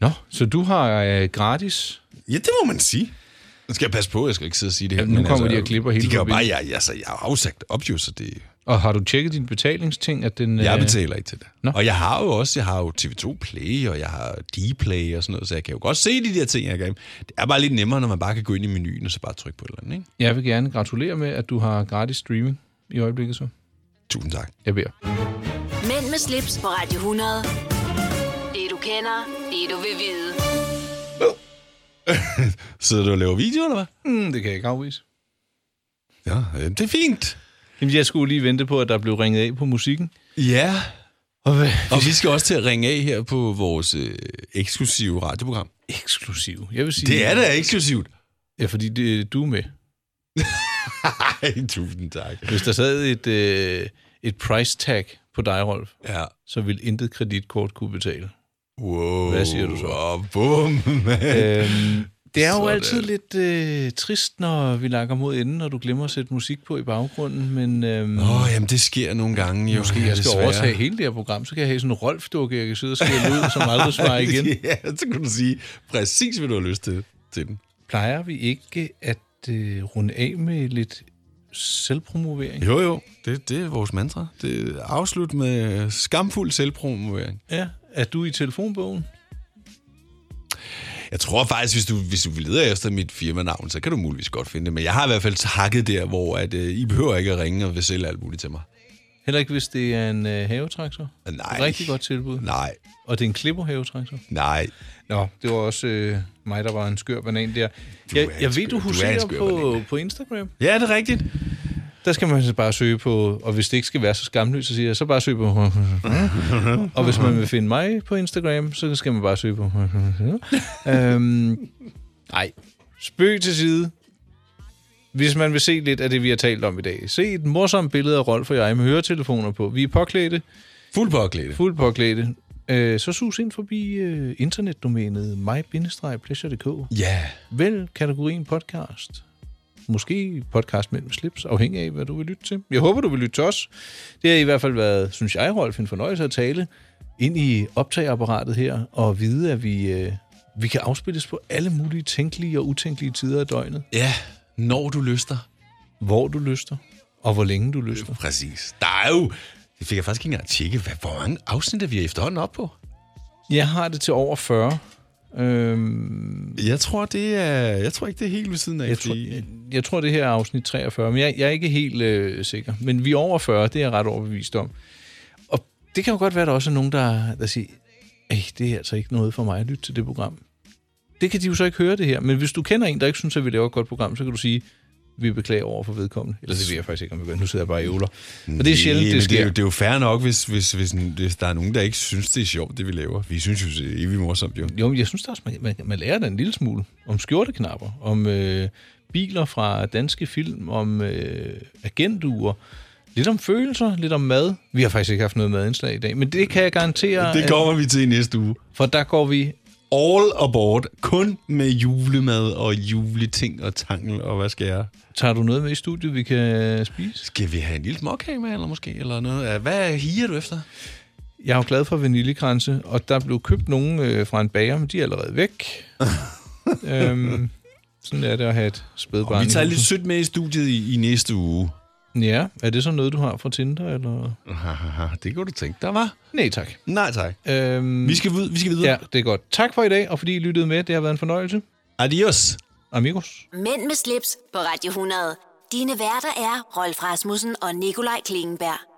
Nå, så du har øh, gratis?
Ja, det må man sige. Nu skal jeg passe på, jeg skal ikke sidde og sige det her.
Jamen, nu
men altså,
kommer de og klipper hele
De kan jo bare,
mobilen.
jeg, altså, jeg har jo sagt det op, jo, så det,
Og har du tjekket din betalingsting? At den,
jeg
øh,
betaler ikke til det. Nå. Og jeg har jo også, jeg har jo TV2 Play, og jeg har D-Play og sådan noget, så jeg kan jo godt se de der ting, jeg kan. Det er bare lidt nemmere, når man bare kan gå ind i menuen og så bare trykke på et eller andet, ikke?
Jeg vil gerne gratulere med, at du har gratis streaming i øjeblikket så.
Tusind tak.
Jeg beder.
Mænd med slips på Radio 100. Det du kender, det du vil vide.
Sidder du og laver video, eller hvad?
Mm, det kan jeg ikke afvise.
Ja, øh, det er fint.
Jamen, jeg skulle lige vente på, at der blev ringet af på musikken.
Ja.
Og, hvad?
Og vi skal også til at ringe af her på vores øh, eksklusive radioprogram.
Eksklusiv? Jeg vil sige...
Det er da eksklusivt.
Ja, fordi det, du er med.
Ej, tusind tak.
Hvis der sad et, øh, et price tag på dig, Rolf,
ja.
så vil intet kreditkort kunne betale.
Wow.
Hvad siger du så?
Oh, bum,
Øhm,
Øh.
det er jo
Sådan.
altid lidt øh, trist, når vi lakker mod enden, og du glemmer at sætte musik på i baggrunden, men... Øhm,
Åh, oh, jamen det sker nogle gange jo.
Måske jeg skal
desværre.
overtage hele det her program, så kan jeg have sådan en Rolf-dukke, jeg kan sidde og skælde ud, som aldrig svarer igen.
ja, så kan du sige præcis, hvad du har lyst til, til den.
Plejer vi ikke at øh, runde af med lidt selvpromovering?
Jo, jo. Det, det er vores mantra. Det er afslut med øh, skamfuld selvpromovering.
Ja, er du i telefonbogen?
Jeg tror faktisk, hvis du, hvis du leder efter mit firmanavn, så kan du muligvis godt finde det. Men jeg har i hvert fald hakket der, hvor at, øh, I behøver ikke at ringe og vil sælge alt muligt til mig.
Heller ikke, hvis det er en øh, havetraktor?
Nej.
Rigtig godt tilbud.
Nej.
Og det er en klipperhavetraktor?
Nej.
Nå, det var også øh, mig, der var en skør banan der. Jeg, jeg ved, du huserer på, på Instagram.
Ja, det er rigtigt.
Der skal man så bare søge på, og hvis det ikke skal være så skamløst, så siger jeg, så bare søg på... og hvis man vil finde mig på Instagram, så skal man bare søge på... øhm, nej, spøg til side. Hvis man vil se lidt af det, vi har talt om i dag, se et morsomt billede af Rolf og jeg med høretelefoner på. Vi er påklædte.
Fuld påklædte.
Fuld påklædte. Øh, så sus ind forbi øh, internetdomænet my-pleasure.dk.
Ja.
Vælg kategorien podcast. Måske podcast mellem slips, afhængig af, hvad du vil lytte til. Jeg håber, du vil lytte til os. Det har i hvert fald været, synes jeg, Rolf, en fornøjelse at tale ind i optageapparatet her, og vide, at vi, øh, vi kan afspilles på alle mulige tænkelige og utænkelige tider af døgnet.
Ja, når du lyster.
Hvor du lyster, og hvor længe du lyster.
Præcis. Der er jo... Det fik jeg faktisk ikke engang tjekke, hvad, hvor mange afsnit er vi efterhånden op på?
Jeg har det til over 40. Øhm,
jeg tror det er, jeg tror ikke det er helt ved siden af.
Jeg, tror, jeg, jeg tror det her er afsnit 43, men jeg, jeg er ikke helt øh, sikker. Men vi er over 40, det er jeg ret overbevist om. Og det kan jo godt være, at der også er nogen, der, der siger, Ej, det er altså ikke noget for mig at lytte til det program. Det kan de jo så ikke høre det her, men hvis du kender en, der ikke synes, at vi laver et godt program, så kan du sige, vi beklager over for vedkommende. Eller det ved jeg faktisk ikke, om vi gør. Nu sidder jeg bare i ævler. Og det er sjældent,
Mm. Næh,
det
men Det er,
sker.
jo, det er jo fair nok, hvis, hvis, hvis, hvis der er nogen, der ikke synes, det er sjovt, det vi laver. Vi synes jo, det er evigt morsomt, jo.
Jo, men jeg synes da også, man, man, man lærer da en lille smule om skjorteknapper, om øh, biler fra danske film, om øh, agentuer, lidt om følelser, lidt om mad. Vi har faktisk ikke haft noget madindslag i dag, men det kan jeg garantere...
Det kommer vi til i næste uge.
For der går vi
all aboard, kun med julemad og juleting og tangel og hvad skal jeg?
Tager du noget med i studiet, vi kan øh, spise?
Skal vi have en lille småkage med, eller måske? Eller noget? Hvad higer du efter?
at jeg er jo glad for vaniljekranse, og der blev købt nogle øh, fra en bager, men de er allerede væk. øhm, sådan er det at have et spædbarn.
Og vi
i
tager
huset.
lidt sødt med i studiet i, i næste uge.
Ja, er det så noget, du har fra Tinder, eller?
det kunne du tænke dig, var.
Nej, tak.
Nej, tak.
Øhm,
Vi skal, vid- vi skal videre.
Ja, det er godt. Tak for i dag, og fordi I lyttede med. Det har været en fornøjelse.
Adios.
Amigos.
Mænd med slips på Radio 100. Dine værter er Rolf Rasmussen og Nikolaj Klingenberg.